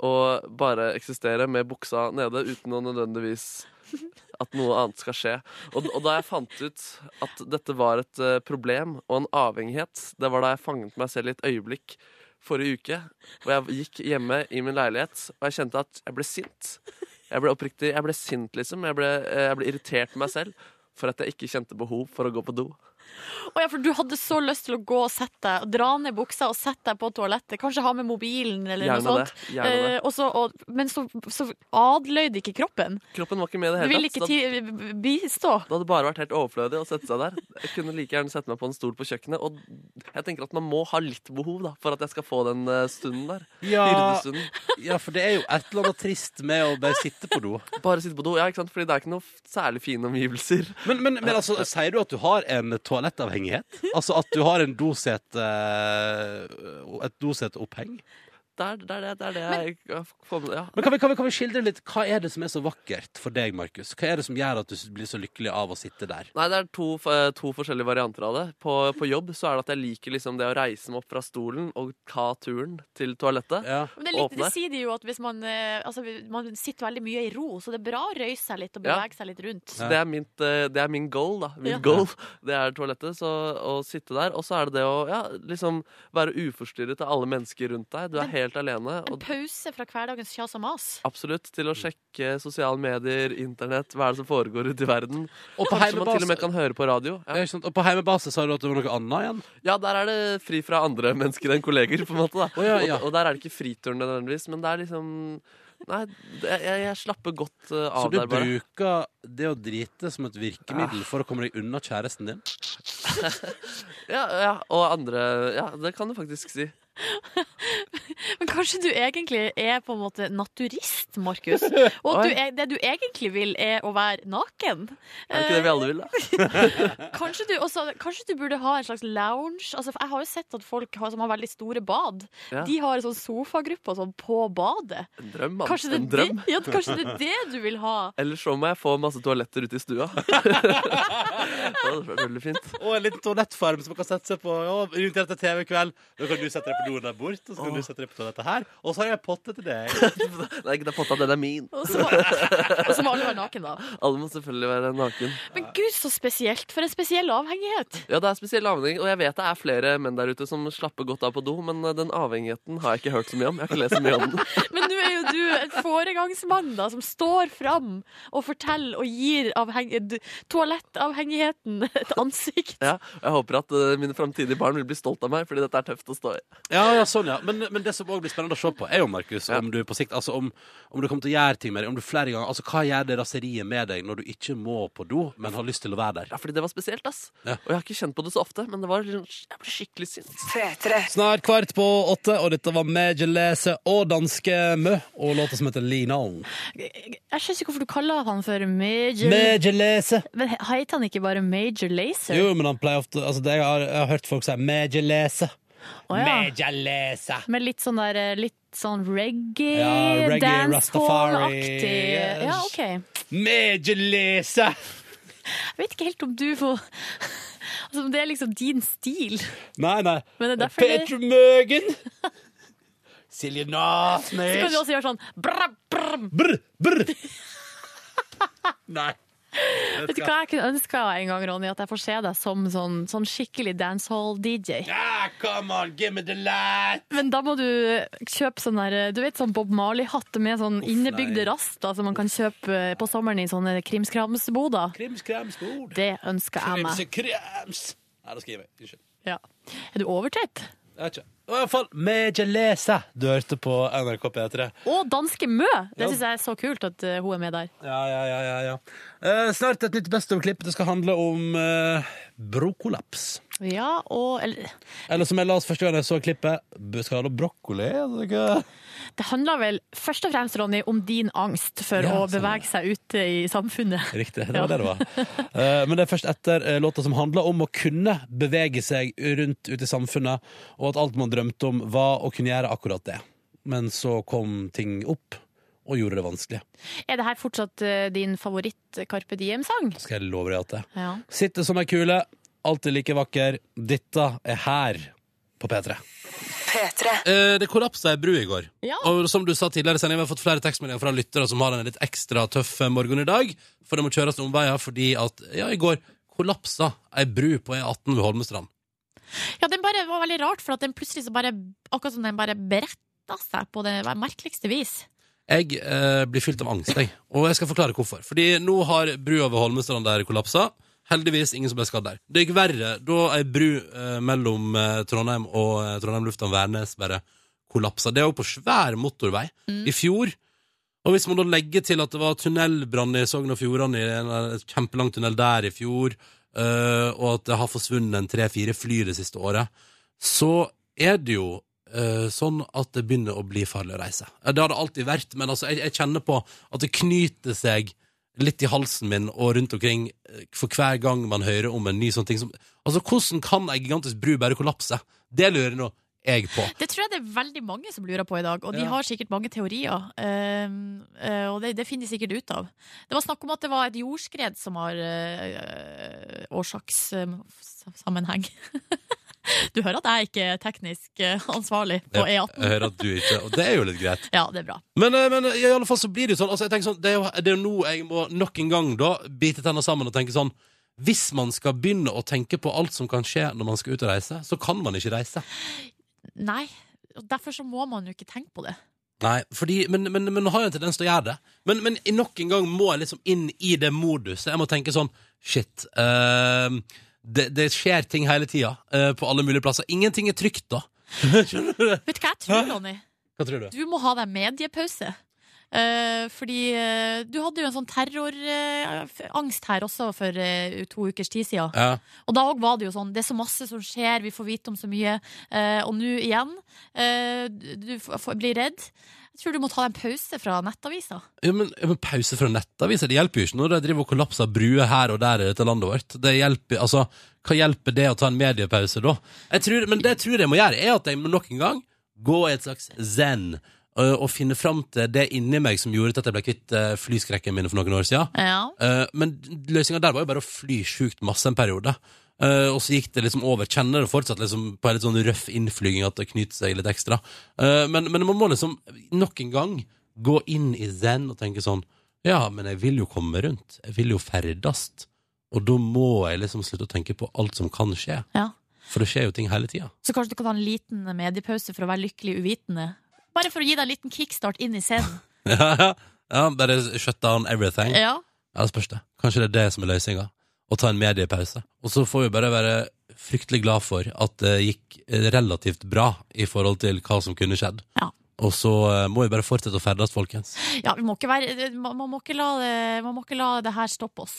I: og bare eksistere med buksa nede uten å nødvendigvis at noe annet skal skje. Og, og da jeg fant ut at dette var et eh, problem og en avhengighet, det var da jeg fanget meg selv i et øyeblikk forrige uke, hvor jeg gikk hjemme i min leilighet, og jeg kjente at jeg ble sint. Jeg ble oppriktig, jeg ble sint, liksom. Jeg ble, eh, jeg ble irritert på meg selv for at jeg ikke kjente behov for å gå på do.
D: Å ja, for du hadde så lyst til å gå og sette deg, og dra ned buksa og sette deg på toalettet. Kanskje ha med mobilen eller
I: Gjerne
D: noe
I: det,
D: sånt.
I: gjerne det.
D: Eh, og så, og, men så, så adløyde ikke kroppen.
I: Kroppen var ikke med i det
D: Du
I: hele
D: ville ikke
I: tatt. så da-
D: ti- bistå.
I: Det hadde bare vært helt overflødig å sette seg der. Jeg kunne like gjerne sette meg på en stol på kjøkkenet. Og jeg tenker at man må ha litt behov da, for at jeg skal få den eh, stunden der.
B: Ja,
I: Hyrdestunden.
B: ja, for det er jo et eller annet trist med å bare sitte på do.
I: Bare sitte på do, ja, ikke sant? Fordi det er ikke noe f- særlig fine omgivelser.
B: Men, men, men altså, sier du at du har en toalettavhengighet? Altså at du har en dosett, et dosetoppheng?
I: Det er det, er det, det, er det jeg jeg får med ja.
B: Men kan vi, kan, vi, kan vi skildre litt, hva er det som er så vakkert for deg, Markus? Hva er det som gjør at du blir så lykkelig av å sitte der?
I: Nei, det er to, f- eh, to forskjellige varianter av det. På, på jobb så er det at jeg liker liksom det å reise meg opp fra stolen og ta turen til toalettet.
D: Men det, er litt, det sier de jo at hvis man, eh, altså, man sitter veldig mye i ro, så det er bra å røyse seg litt og
I: Ja.
D: bevege seg litt rundt.
I: Så det er, mitt, eh, det er min goal, da. Mitt
D: Ja.
I: goal. Det er toalettet. Så å sitte der. Og så er det det å ja, liksom være uforstyrret av alle mennesker rundt deg. Du er helt alene.
C: En
I: Og
C: pause fra hverdagens kjas og mas.
I: absolutt til å sjekke sosiale medier, internett, hva er det som foregår ute i verden.
B: Og på
I: Kanskje man
B: heimebase-
I: til og med kan høre på radio.
B: Ja, ikke sant? Og på heimebase sa du at det var noe annet igjen?
I: Ja, der er det fri fra andre mennesker enn kolleger, på en måte. Da.
B: ja, ja.
I: Og, og der er det ikke friturene nødvendigvis, men det er liksom Nei, det- jeg, jeg slapper godt eh,
B: Så
I: av
B: du
I: der, bare. Ah.
B: bruker det å drite som et virkemiddel for å komme deg unna kjæresten din?
I: Ja, ja, og andre Ja, det kan du faktisk si.
C: Men kanskje du egentlig er på en måte naturist, Markus. Og at du er, det du egentlig vil, er å være naken.
I: Er det ikke det vi alle vil, da?
C: Eh. Kanskje du, også, kanskje du burde ha en slags lounge. Altså, jeg har jo sett at folk har, som har veldig store bad,
I: Ja.
C: de har en sånn sofagruppe og sånn på badet.
I: En drøm, mann.
C: Kanskje det,
I: En
C: er
I: drøm.
C: Det, ja, kanskje det er det du vil ha.
I: Ellers så må jeg få masse toaletter ute i stua. det hadde vært veldig fint.
B: Og en liten toalettfarm som man kan sette seg på. Ja, Invitert til TV-kveld. Da kan du sette deg på doen der bort, og så kan du sette deg på toalettet her. Og så har jeg en potte til deg.
I: Nei, ikke det er potta, den er min.
C: Og så må, og så må alle være naken, da.
I: Alle må selvfølgelig være naken.
C: Men gud, så spesielt. For en spesiell avhengighet.
I: Ja, det er spesiell avhengig, og jeg vet det er flere menn der ute som slapper godt av på do, men eh, den avhengigheten har jeg ikke hørt så mye om. Jeg har ikke lest så mye om den.
C: Men nå er jo du en foregangsmann da, som står fram og forteller og gir avheng d- toalettavhengigheten et ansikt.
I: Ja, og jeg håper at eh, mine framtidige barn vil bli stolt av meg, fordi dette er tøft å stå i.
B: Ja, ja, sånn, ja. Men, men det som òg blir spennende å se på, er jo, Markus, om du på sikt Altså om, om du kommer til å gjøre ting med deg, om du flere ganger Altså, hva gjør det raseriet med deg når du ikke må på do, men har lyst til å være der?
I: Ja, fordi det var spesielt, ass. Og jeg har ikke kjent på det så ofte, men det var, liksom- jeg ble skikkelig sint.
B: Snart kvart på åtte, og dette var Major Lazer og danske Mø, og låta som heter Lean On.
C: Jeg skjønner ikke hvorfor du kaller han for Major
B: Major Lazer.
C: Men he- heter han ikke bare Major Lazer?
B: Jo, men han pleier ofte Altså, det jeg har, jeg har hørt folk si Major Lazer.
C: Å, ja.
B: Major Lazer.
C: Med litt sånn der eh, litt sånn reggae,
B: Ja, reggae,
C: dancehall-aktig
B: Rastafari,
C: Ja,
B: yes.
C: OK. Jeg
B: Major Lazer.
C: vet ikke helt om du får Altså, om det er liksom din stil.
B: Nei, nei.
C: Men det er derfor det-
B: Petra Møgen. Silje
C: Så kan
B: Nasnes.
C: du også gjøre sånn brr, brr,
B: Brr, brr. Nei.
C: Vet du hva jeg kunne ønska en gang, Ronny? At jeg får se deg som sånn, sånn skikkelig dancehall-DJ.
B: Ah, come on, give me the light.
C: Men da må du kjøpe sånn der, du vet, sånn Bob Marley-hatt med sånn innebygde
B: nei.
C: raster som man kan kjøpe eh, på sommeren i sånne krimskramsboder.
B: Krimskramsbord.
C: Det ønsker jeg meg.
B: Krimsekrams. Nei, da skriver jeg. Unnskyld.
C: Ja. Er du overtøyd?
B: Jeg vet ikke. Og I hvert fall Major Lazer. Du hørte på NRK P3.
C: Og danske Mø!
B: Ja.
C: Det syns jeg er så kult at eh, hun er med der.
B: Ja, ja, ja, ja, ja. Eh, snart et nytt Best of-klipp. Det skal handle om eh, brokollaps.
C: Ja, og eller,
B: Eller som jeg la oss første gang jeg så klippet, b- skal handle om brokkoli. altså, ikke-
C: Det handler vel først og fremst, Ronny, om din angst for
B: Ja,
C: å
B: sånn,
C: bevege seg ute i samfunnet.
B: Riktig, det
C: Ja.
B: var det det var. Eh, men det er først etter eh, låta som handler om å kunne bevege seg rundt ute i samfunnet, og at alt man drømte om var å kunne gjøre akkurat det. Men så kom ting opp og gjorde det vanskelig.
C: Er det her fortsatt eh, din favoritt-Carpe Diem-sang?
B: Skal jeg love deg at det.
C: Ja.
B: Sitter som ei kule, alltid like vakker. Dette er her på P3. Eh, det kollapsa ei bru i går.
L: Ja.
B: Og som du sa tidligere, i sendingen, vi har fått flere tekstmeldinger fra lyttere som har en litt ekstra tøff morgen i dag. For det må kjøres noen veier fordi at ja, i går kollapsa ei bru på E18 ved Holmestrand.
C: Ja, den bare var veldig rart, for at den plutselig så bare Akkurat som den bare beretta seg på det merkeligste vis.
B: Jeg eh, blir fylt av angst, jeg. Og jeg skal forklare hvorfor. Fordi nå har brua ved Holmestrand der kollapsa. Heldigvis ingen som ble skadd der. Det gikk verre da ei bru eh, mellom eh, Trondheim og eh, Trondheim lufthavn Værnes bare kollapsa. Det er jo på svær motorvei. I fjor Og hvis man da legger til at det var tunnelbrann i Sogn og Fjordane, i en en kjempelang tunnel der i fjor, eh, og at det har forsvunnet en tre-fire fly det siste året, så er det jo eh, sånn at det begynner å bli farlig å reise. Eh, Det har det alltid vært, men altså, jeg, jeg kjenner på at det knyter seg litt i halsen min og rundt omkring eh, for hver gang man hører om en ny sånn ting som Altså, hvordan kan ei gigantisk bru bare kollapse? Det lurer nå jeg på.
C: Det tror jeg det er veldig mange som lurer på i dag, og de
B: Ja.
C: har sikkert mange teorier. ehm, eh, og det, det finner de sikkert ut av. Det var snakk om at det var et jordskred som har eh, eh, årsakssammenheng. du hører at jeg ikke er teknisk eh, ansvarlig på
B: Jeg,
C: E18.
B: jeg hører at du ikke Og det er jo litt greit.
C: Ja, det er bra.
B: Men, eh, men i alle fall så blir det jo sånn, altså, jeg tenker sånn Det er jo, det er jo nå jeg må nok en gang da bite tenna sammen og tenke sånn Hvis man skal begynne å tenke på alt som kan skje når man skal ut og reise, så kan man ikke reise.
C: Nei. og derfor så må man jo ikke tenke på det.
B: Nei, fordi, men, men, men har jo en tendens til å gjøre det. Men, men i nok en gang må jeg liksom inn i det moduset. Jeg må tenke sånn Shit. ehm, det, det skjer ting hele tida eh, på alle mulige plasser. Ingenting er trygt, da. Skjønner du? det?
C: Vet du hva jeg tror, Ronny?
B: Hva tror du?
C: Du må ha deg mediepause. Eh, fordi eh, du hadde jo en sånn terrorangst her også for eh, to ukers tid siden.
B: Ja.
C: Og da òg var det jo sånn Det er så masse som skjer, vi får vite om så mye. Eh, og nå igjen. eh, du f- f- blir redd. Jeg tror du må ta deg en pause fra nettavisa.
B: Ja, men, ja, men pause fra nettaviser, det hjelper jo ikke når de driver og kollapser bruer her og der i dette landet vårt. Det hjelper, altså, hva hjelper det å ta en mediepause da? Jeg tror, men det jeg tror jeg må gjøre, er at jeg nok en gang går i et slags zen, og, og finner fram til det inni meg som gjorde at jeg ble kvitt eh, flyskrekken min for noen år siden.
C: Ja.
B: Eh, men løsninga der var jo bare å fly sjukt masse en periode. Eh, og så gikk det liksom over. Kjenner det fortsatt liksom på en litt sånn røff innflyging at det knyter seg litt ekstra. Eh, men, men man må liksom nok en gang gå inn i zen og tenke sånn Ja, men jeg vil jo komme rundt. Jeg vil jo ferdes. Og da må jeg liksom slutte å tenke på alt som kan skje.
C: Ja.
B: For det skjer jo ting hele tida.
C: Så kanskje du kan ta en liten mediepause for å være lykkelig uvitende. Bare for å gi deg en liten kickstart inn i scenen.
B: ja, bare shut down everything.
C: Ja.
B: Ja, det spørs det. Kanskje det er det som er løsninga. Å ta en mediepause. Og så får vi bare være fryktelig glad for at det gikk relativt bra i forhold til hva som kunne skjedd. Og så eh, må vi bare fortsette å ferdes, folkens.
C: Ja, vi må ikke være, man, man, må ikke la det, man må ikke la det her stoppe oss.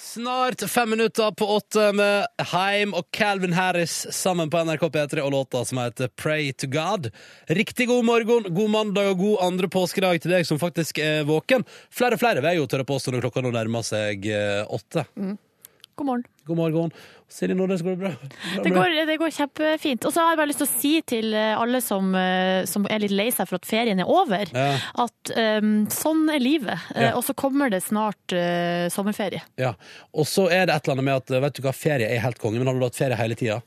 B: Snart fem minutter på åtte med Heim og Calvin Harris sammen på NRK P3 og låta som heter Pray to God. Riktig god morgen, god mandag og god andre påskedag til deg som faktisk er våken. Flere og flere vil jeg jo tørre påstå når klokka nå nærmer seg eh, åtte.
D: Mm. God morgen.
B: God morgen. Silje Nordnes, går det bra?
D: Det går, det går kjempefint. Og så har jeg bare lyst til å si til eh, alle som, eh, som er litt lei seg for at ferien er over,
B: Ja.
D: at eh, sånn er livet. Eh,
B: Ja.
D: Og så kommer det snart eh, sommerferie.
B: Ja, Og så er det et eller annet med at eh, vet du hva, ferie er helt konge, men hadde du hatt ferie hele tida,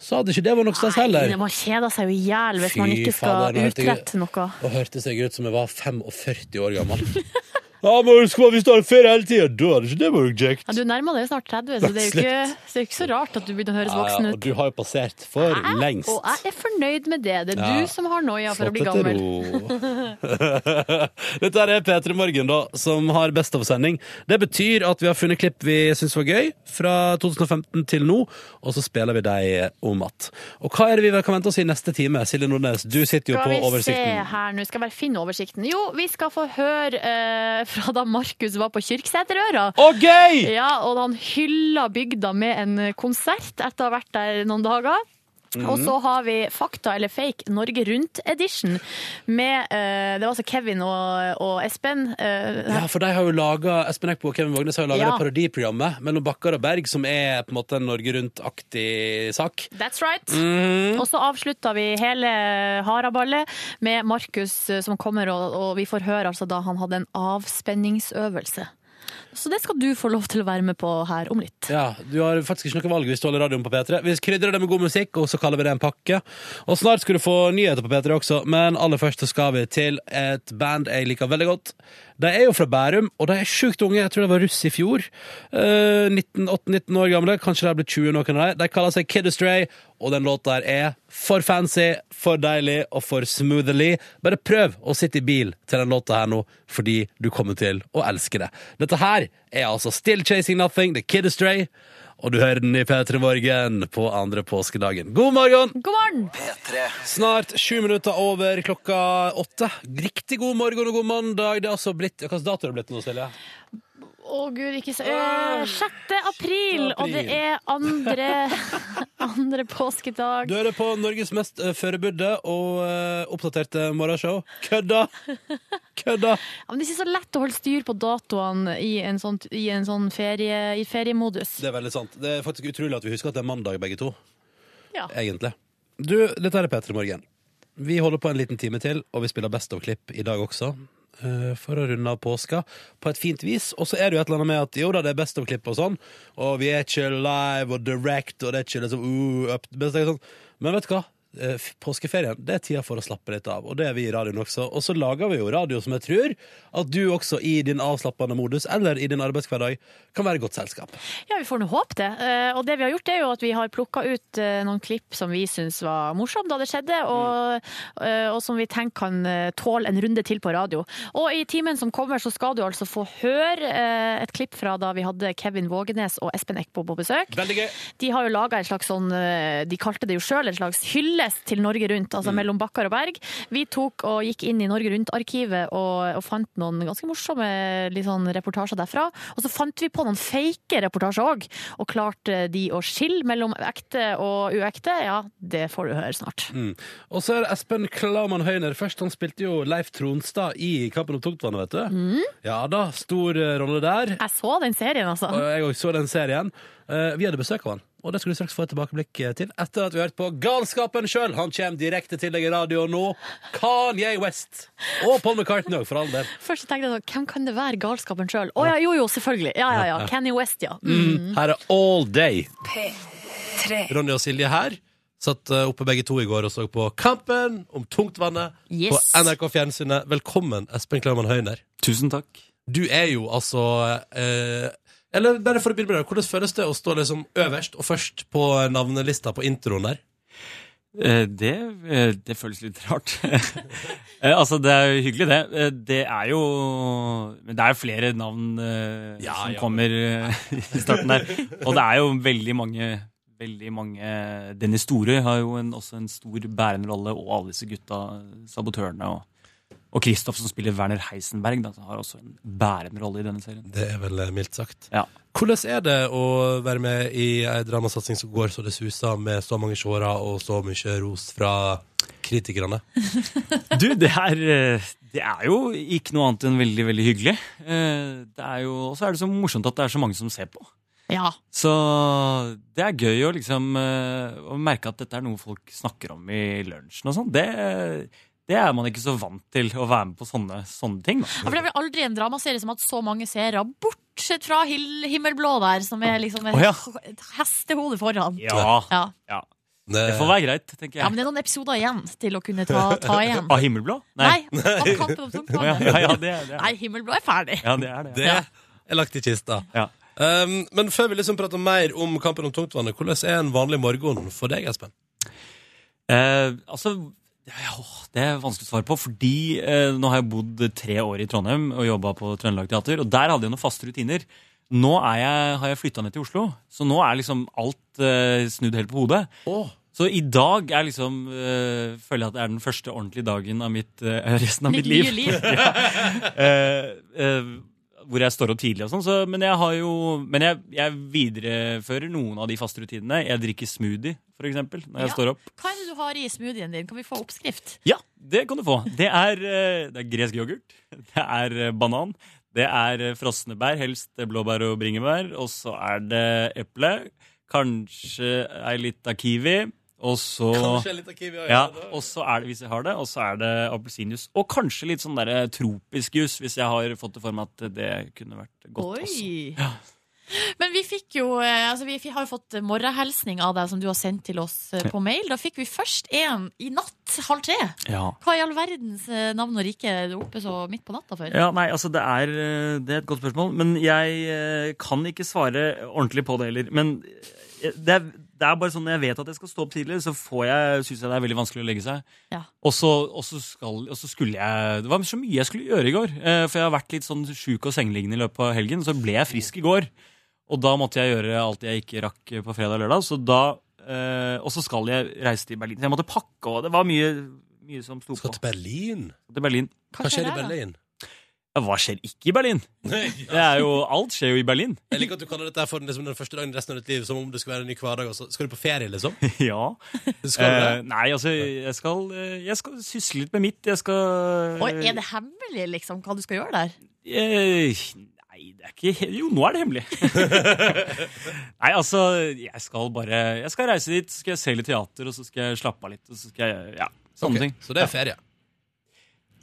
B: så hadde ikke det vært noe stas heller.
D: Man kjeder seg jo i hjel hvis
B: Fy
D: man ikke
B: fader,
D: skal
B: nå hørte jeg-
D: utrette noe.
B: Og hørte seg ut som jeg var 45 år gammel. ja, men husk på, hvis du har ferie hele tida, da hadde ikke det vært kjekt.
D: Ja, du nærmer deg snart 30, så det er jo ikke, så det er ikke så rart at du begynner å høres voksen
B: Ja, og
D: ut.
B: du har jo passert for
D: Hæ?
B: lengst.
D: Og jeg er fornøyd med det. Det er
B: Ja.
D: du som har noia for å bli
B: Slå
D: gammel.
B: deg Dette her er P3 Morgen, da, som har Best of-sending. Det betyr at vi har funnet klipp vi syns var gøy, fra 2015 til nå, og så spiller vi dem om att. Og hva er det vi kan vente oss i neste time? Silje Nordnes, du sitter jo på
D: Skal vi se
B: oversikten.
D: her nå, skal jeg bare finne oversikten. Jo, vi skal få høre eh, fra da Markus var på Kyrksæterøra.
B: Å, gøy!
D: Ja, og han hylla bygda med en konsert etter å ha vært der noen dager.
C: Mhm.
D: Og så har vi Fakta eller fake Norge Rundt-edition. Med eh, Det var altså Kevin og, og Espen. eh,
B: Ja, for de har jo laget, Espen Eckbo og Kevin Vågnes har jo laga
D: Ja.
B: det parodiprogrammet mellom Bakkar og Berg, som er på en måte en Norge Rundt-aktig sak.
D: That's right.
B: Mhm.
D: Og så avslutta vi hele haraballet med Markus eh, som kommer, og, og vi får høre altså da han hadde en avspenningsøvelse. Så det skal du få lov til å være med på her om litt.
B: Ja, Du har faktisk ikke noe valg hvis du holder radioen på P3. Vi krydrer det med god musikk, og så kaller vi det en pakke. Og Snart skal du få nyheter på P3 også, men aller først så skal vi til et band jeg liker veldig godt. De er jo fra Bærum, og de er sjukt unge. Jeg tror de var russ i fjor. Eh, 19, 18-19 år gamle. Kanskje de er blitt 20, noen av de. De kaller seg Kid Astray, og den låta her er for fancy, for deilig og for smoothly. Bare prøv å sitte i bil til den låta her nå, fordi du kommer til å elske det. Dette her er altså Still Chasing Nothing, The Kid Astray, og du hører den i P3 Morgen på andre påskedagen. God morgen!
D: God morgen!
B: Snart sju minutter over klokka åtte. Riktig god morgen og god mandag. Det er altså blitt Hvilken dato er det blitt nå, Silje?
D: Å gud, ikke så eh, 6. april, og det
B: april.
D: er andre, andre påskedag.
B: Du hører på Norges mest uh, forberedte og eh, oppdaterte morgenshow. Kødda! Kødda!
D: Ja, men det er ikke så lett å holde styr på datoene i en sånn, i en sånn ferie, i feriemodus.
B: Det er veldig sant. Det er faktisk utrolig at vi husker at det er mandag, begge to.
D: Ja.
B: Egentlig. Du, dette er P3 Morgen. Vi holder på en liten time til, og vi spiller Best of-klipp i dag også. eh, For å runde av påska på et fint vis. Og så er det jo et eller annet med at jo da, det er Best of-klipp og sånn, og vi er ikke live og direct, og det er ikke liksom uh, up, men det er sånn. Men vet du hva? eh, f- påskeferien det er tida for å slappe litt av, og det er vi i radioen også. Og så lager vi jo radio som jeg tror at du også i din avslappende modus eller i din arbeidshverdag kan være godt selskap.
C: Ja, vi får nå håpe det. Eh, Og det vi har gjort, er jo at vi har plukka ut eh, noen klipp som vi syns var morsomme da det skjedde, og, eh, og som vi tenker kan eh, tåle en runde til på radio. Og i timen som kommer, så skal du altså få høre eh, et klipp fra da vi hadde Kevin Vågenes og Espen Eckbo på besøk.
B: Veldig gøy.
C: De har jo laga en slags sånn eh, De kalte det jo sjøl en slags hyllest til Norge Rundt, altså mellom bakker og berg. Vi tok og gikk inn i Norge Rundt-arkivet og, og fant noen ganske morsomme litt sånn reportasjer derfra. Og så fant vi på noen fake reportasjer òg, og klarte de å skille mellom ekte og uekte. Ja, det får du høre snart.
B: Mm. Og så er det Espen Klaumann Høyner først. Han spilte jo Leif Tronstad i Kampen om tungtvannet, vet du. Ja da, stor eh, rolle der.
C: Mm. Jeg så den serien, altså.
B: Og jeg også så den serien. Eh, Vi hadde besøk av han, og det skulle vi straks få et tilbakeblikk eh, til. Etter at vi har hørt på Galskapen sjøl. Han kommer direkte til deg i radioen nå. Kanye West. Og Paul McCartney òg, for all del.
C: Først så tenkte jeg sånn, hvem kan det være galskapen sjøl? Å ja, jo jo, selvfølgelig. Ja ja ja. Kenny West, ja.
B: Mm. Her er All Day.
C: P3.
B: Ronny og Silje her. Satt eh, oppe begge to i går og så på Kampen om tungtvannet
C: Yes.
B: på NRK Fjernsynet. Velkommen, Espen Klaumann Høyner.
P: Tusen takk.
B: Du er jo altså eh, Eller bare for å begynne med det, hvordan føles det å stå liksom øverst og først på navnelista på introen der?
P: Eh, Det, eh, det føles litt rart. Eh, altså, det er jo hyggelig, det. Eh, Det er jo Men det er jo flere navn eh, som
B: ja.
P: kommer eh, i starten der. Og det er jo veldig mange veldig mange Dennis Storøy har jo en, også en stor bærende rolle, og alle disse gutta, sabotørene og og Kristoff, som spiller Werner Heisenberg, da, har også en bærende rolle i denne serien.
B: Det er vel eh, mildt sagt.
P: Ja.
B: Hvordan er det å være med i ei dramasatsing som går så det suser, med så mange seere og så mye ros fra kritikerne?
P: Du, det er, eh, det er jo ikke noe annet enn veldig, veldig hyggelig. Eh, Det er jo, og så er det så morsomt at det er så mange som ser på.
C: Ja.
P: Så det er gøy å liksom eh, å merke at dette er noe folk snakker om i lunsjen og sånn. Det, det er man ikke så vant til, å være med på sånne, sånne ting. Da.
C: Ja, for Det er vel aldri en dramaserie som har hatt så mange seere, bortsett fra Hill, Himmelblå der, som er liksom et
P: Å, ja.
C: et hestehode foran.
P: Ja.
C: ja.
P: Ja. Det får være greit, tenker jeg.
C: Ja, men det er noen episoder igjen til å kunne ta, ta igjen.
P: Av Himmelblå?
C: Nei, av Kampen om tungtvannet.
P: Ja, ja, det er det.
C: Nei, Himmelblå er ferdig.
P: Ja, det er det.
B: Det er lagt i kista. Um, men før vi liksom prater mer om kampen om tungtvannet, hvordan er en vanlig morgen for deg, Espen?
P: Eh, altså, åh, det er vanskelig å svare på, fordi eh, nå har jeg bodd tre år i Trondheim og jobba på Trøndelag Teater, og der hadde jeg noen faste rutiner. Nå er jeg, har jeg flytta ned til Oslo, så nå er liksom alt eh, snudd helt på hodet. Så i dag er liksom, eh, føler jeg at det er den første ordentlige dagen av mitt, eh, resten av
L: Mitt
P: mitt
L: nye
P: liv.
L: liv.
P: ja. eh, eh, hvor jeg står opp tidlig og sånn. Så, men jeg har jo Men jeg, jeg viderefører noen av de faste rutinene. Jeg drikker smoothie, for eksempel, når jeg
C: Ja.
P: står opp.
C: Hva er det du har i smoothien din? Kan vi få oppskrift?
P: Ja, det kan du få. Det er, eh, det er gresk yoghurt, det er eh, banan, det er eh, frosne bær, helst eh, blåbær og bringebær, og så er det eple, kanskje ei lita kiwi, og så
B: Kanskje ei lita kiwi, ja,
P: ja.
B: ja,
P: Og så er det, hvis jeg har det, og så er det appelsinjuice, og kanskje litt sånn der eh, tropisk juice, hvis jeg har fått det for meg at det kunne vært godt også.
C: Oi! Men vi fikk jo eh, altså Vi fi- har jo fått morgenhelsning av deg som du har sendt til oss eh, på mail. Da fikk vi først en i natt halv tre.
P: Ja.
C: Hva i all verdens eh, navn og rike er du oppe så midt på natta for?
P: Ja, nei, altså det er, eh, det er et godt spørsmål, men jeg eh, kan ikke svare ordentlig på det heller. Men eh, det er, det er bare sånn når jeg vet at jeg skal stå opp tidlig, så får jeg, synes jeg det er veldig vanskelig å legge seg.
C: Ja.
P: Og så, og så skal, og så skulle jeg Det var så mye jeg skulle gjøre i går. eh, For jeg har vært litt sånn sjuk og sengeliggende i løpet av helgen. Så ble jeg frisk i går. Og da måtte jeg gjøre alt jeg ikke rakk på fredag og lørdag. Så da, eh, og så skal jeg reise til Berlin. Så jeg måtte pakke, og det var mye, mye som sto på. Skal
B: til Berlin?
P: Til Berlin.
B: Hva Hva skjer skjer i der, da? Berlin?
P: Ja, hva skjer ikke i Berlin? Det er jo, alt skjer jo i Berlin.
B: Jeg liker at du kaller dette her for liksom, den første dagen i resten av ditt liv, som om det skulle være en ny hverdag. og så Skal du på ferie, liksom?
P: Ja.
B: Skal du det?
P: Eh, nei, altså, jeg skal, eh, jeg skal sysle litt med mitt. Jeg skal
C: Oi, er det hemmelig liksom hva du skal gjøre der?
P: Eh, Nei, det er ikke he- Jo, nå er det hemmelig. nei, altså, jeg skal bare Jeg skal reise dit, så skal jeg se litt teater, og så skal jeg slappe av litt, og så skal jeg Ja, sånne
B: Ok,
P: ting.
B: Så det er ferie.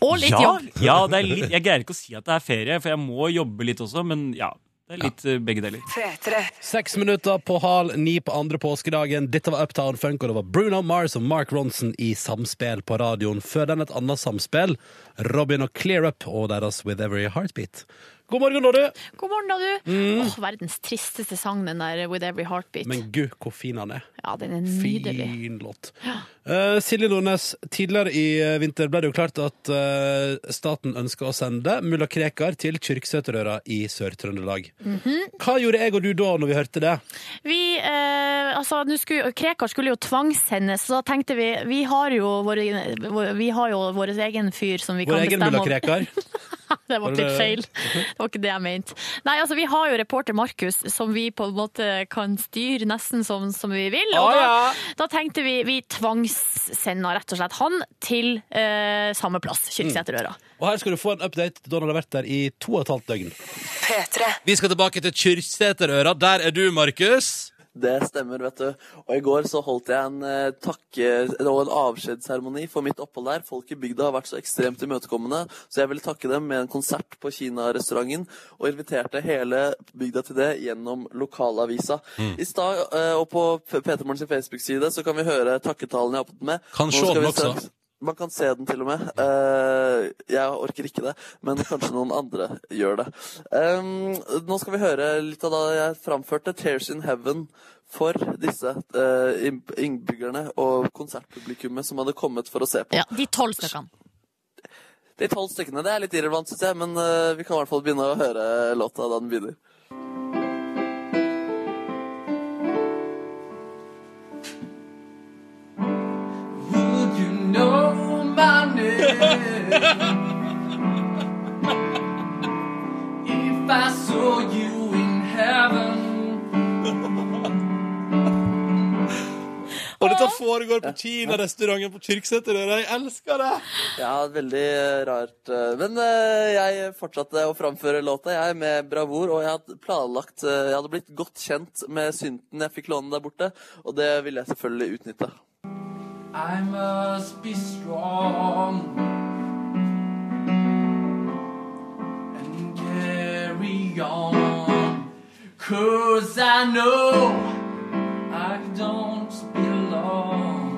C: Og litt
P: ja,
C: jobb.
P: Ja, det er litt, jeg greier ikke å si at det er ferie, for jeg må jobbe litt også, men ja. Det Det er litt eh, begge deler.
B: Seks minutter på hal ni på andre påskedagen. Dette var Uptown Funk, og det var Bruno Mars og Mark Ronson i samspill på radioen. Før den et annet samspill. Robin og Clear Up og deres With Every Heartbeat. God morgen, Noddu!
C: God morgen, da, du.
B: Mm.
C: Åh, verdens tristeste sang, den der eh, With Every Heartbeat.
B: Men gud, hvor fin han er.
C: ja, den er nydelig.
B: Fin låt. Eh, Silje Nordnes, tidligere i eh, vinter ble det jo klart at eh, staten ønska å sende mulla Krekar til Kyrksæterøra i Sør-Trøndelag.
C: Mhm.
B: Hva gjorde jeg og du da når vi hørte det?
C: Vi, eh, altså, nå skulle, Krekar skulle jo tvangssendes, så da tenkte vi vi har jo eh, vår, vi har jo vår egen fyr som vi
B: Vår
C: kan
B: egen
C: bestemme
B: mulla Krekar.
C: det
B: Var
C: var
B: det
C: litt
B: det?
C: feil. Det var ikke det jeg mente. Nei, altså, vi har jo reporter Markus, som vi på en måte kan styre nesten som, som vi vil. Og
Q: Å,
C: da,
Q: ja.
C: da tenkte vi vi tvangssender rett og slett han til eh, samme plass, Kyrksæterøra.
B: Og her skal du få en update da han har vært der i to og et halvt døgn. Vi skal tilbake til Kyrksæterøra. Der er du, Markus.
I: Det stemmer, vet du. Og i går så holdt jeg en eh, takke- og en avskjedsseremoni for mitt opphold der. Folk i bygda har vært så ekstremt imøtekommende, så jeg ville takke dem med en konsert på Kina-restauranten, og inviterte hele bygda til det gjennom lokalavisa.
Q: Mm.
I: I stad, eh, og på P3morgens Facebook-side, så kan vi høre takketalen jeg har opptatt med.
B: Kan
I: Nå
B: se
I: skal
B: den
I: vi
B: også.
I: straks- Man kan se den til og med. Eh, jeg orker ikke det, men kanskje noen andre gjør det. Em, nå skal vi høre litt av da jeg framførte 'Tears in Heaven' for disse eh, innb- innbyggerne og konsertpublikummet som hadde kommet for å se på.
C: Ja, de tolv stykkene.
I: De tolv stykkene det er litt irrelevant, syns jeg, men eh, vi kan i hvert fall begynne å høre låta da den begynner.
Q: Would you know my name? if I saw you in heaven.
B: Og dette foregår på Kina-restauranten på Kyrksæterøra. Jeg elsker det!
I: Ja, veldig eh, rart. eh, Men eh, jeg fortsatte å framføre låta jeg med bravur, og jeg hadde planlagt eh, Jeg hadde blitt godt kjent med synten jeg fikk låne der borte, og det ville jeg selvfølgelig utnytte.
Q: I must be strong and carry on. Cause I know I don't belong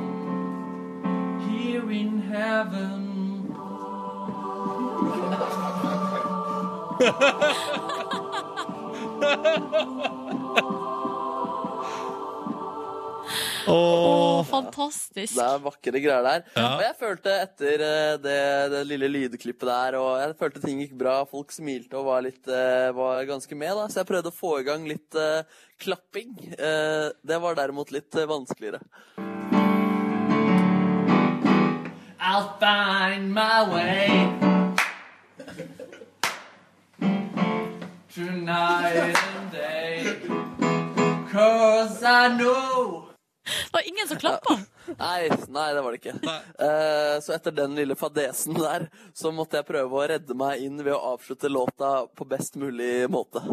Q: here in heaven.
C: Åh, fantastisk.
I: Det er vakre greier der.
Q: Ja.
I: Og jeg følte etter eh, det, det lille lydklippet der, og jeg følte ting gikk bra, folk smilte og var, litt, eh, var ganske med, da. Så jeg prøvde å få i gang litt eh, klapping. Eh, det var derimot litt eh, vanskeligere.
Q: I'll find my way tonight and day. Cause I know.
C: Det var ingen som klappa.
I: Nei, nei, det var det ikke. Eh, så etter den lille fadesen der, så måtte jeg prøve å redde meg inn ved å avslutte låta på best mulig måte.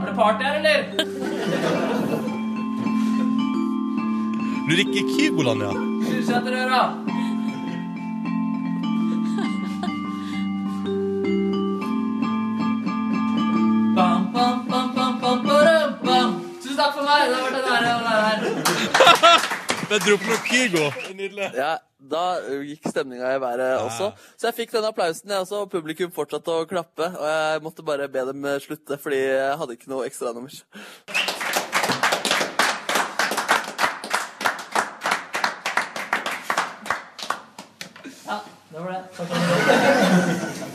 Q: Er det party her, eller?
B: Du liker Kygoland, ja?
Q: Kyrksæterøra. Bam, bam, bam, bam, bam, badum, bam. Tusen takk for meg. Det har vært en ære å være her.
I: Det dro på noe Kygo. Ja, da gikk stemninga i været også. Så jeg fikk den applausen, jeg også. og Publikum fortsatte å klappe. Og jeg måtte bare be dem slutte, fordi jeg hadde ikke noe ekstranummer.
Q: Ja, det var det. Takk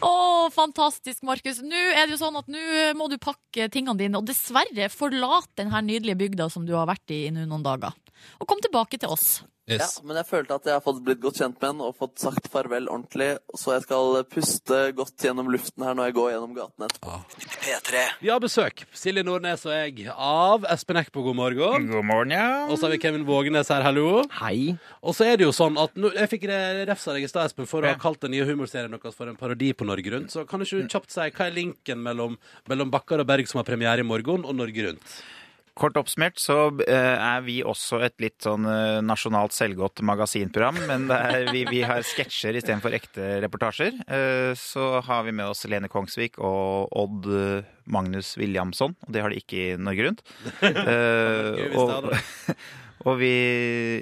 C: Å, fantastisk, Markus. Nå er det jo sånn at nå må du pakke tingene dine, og dessverre forlate den her nydelige bygda som du har vært i nå noen dager. Og kom tilbake til oss.
I: Ja, men jeg følte at jeg har fått blitt godt kjent med henne og fått sagt farvel ordentlig. Så jeg skal puste godt gjennom luften her når jeg går gjennom gatene. P3.
B: Vi har besøk, Silje Nordnes og jeg, av Espen Eckbo. God morgen.
R: God morgen, ja.
B: Og så har vi Kevin Vågenes her, hallo.
R: Hei.
B: Og så er det jo sånn at nå, Jeg fikk re- refsa deg i stad, Espen, for å ha kalt den nye humorserien deres for en parodi på Norge Rundt. Så kan ikke du kjapt si hva er linken mellom, mellom Bakkar og Berg, som har premiere i morgen, og Norge Rundt?
S: Kort oppsummert så eh, er vi også et litt sånn eh, nasjonalt selvgodt magasinprogram, men det er, vi, vi har sketsjer istedenfor ekte reportasjer. Eh, Så har vi med oss Lene Kongsvik og Odd eh, Magnus Williamson, og det har de ikke i Norge Rundt. Eh, Og, og vi,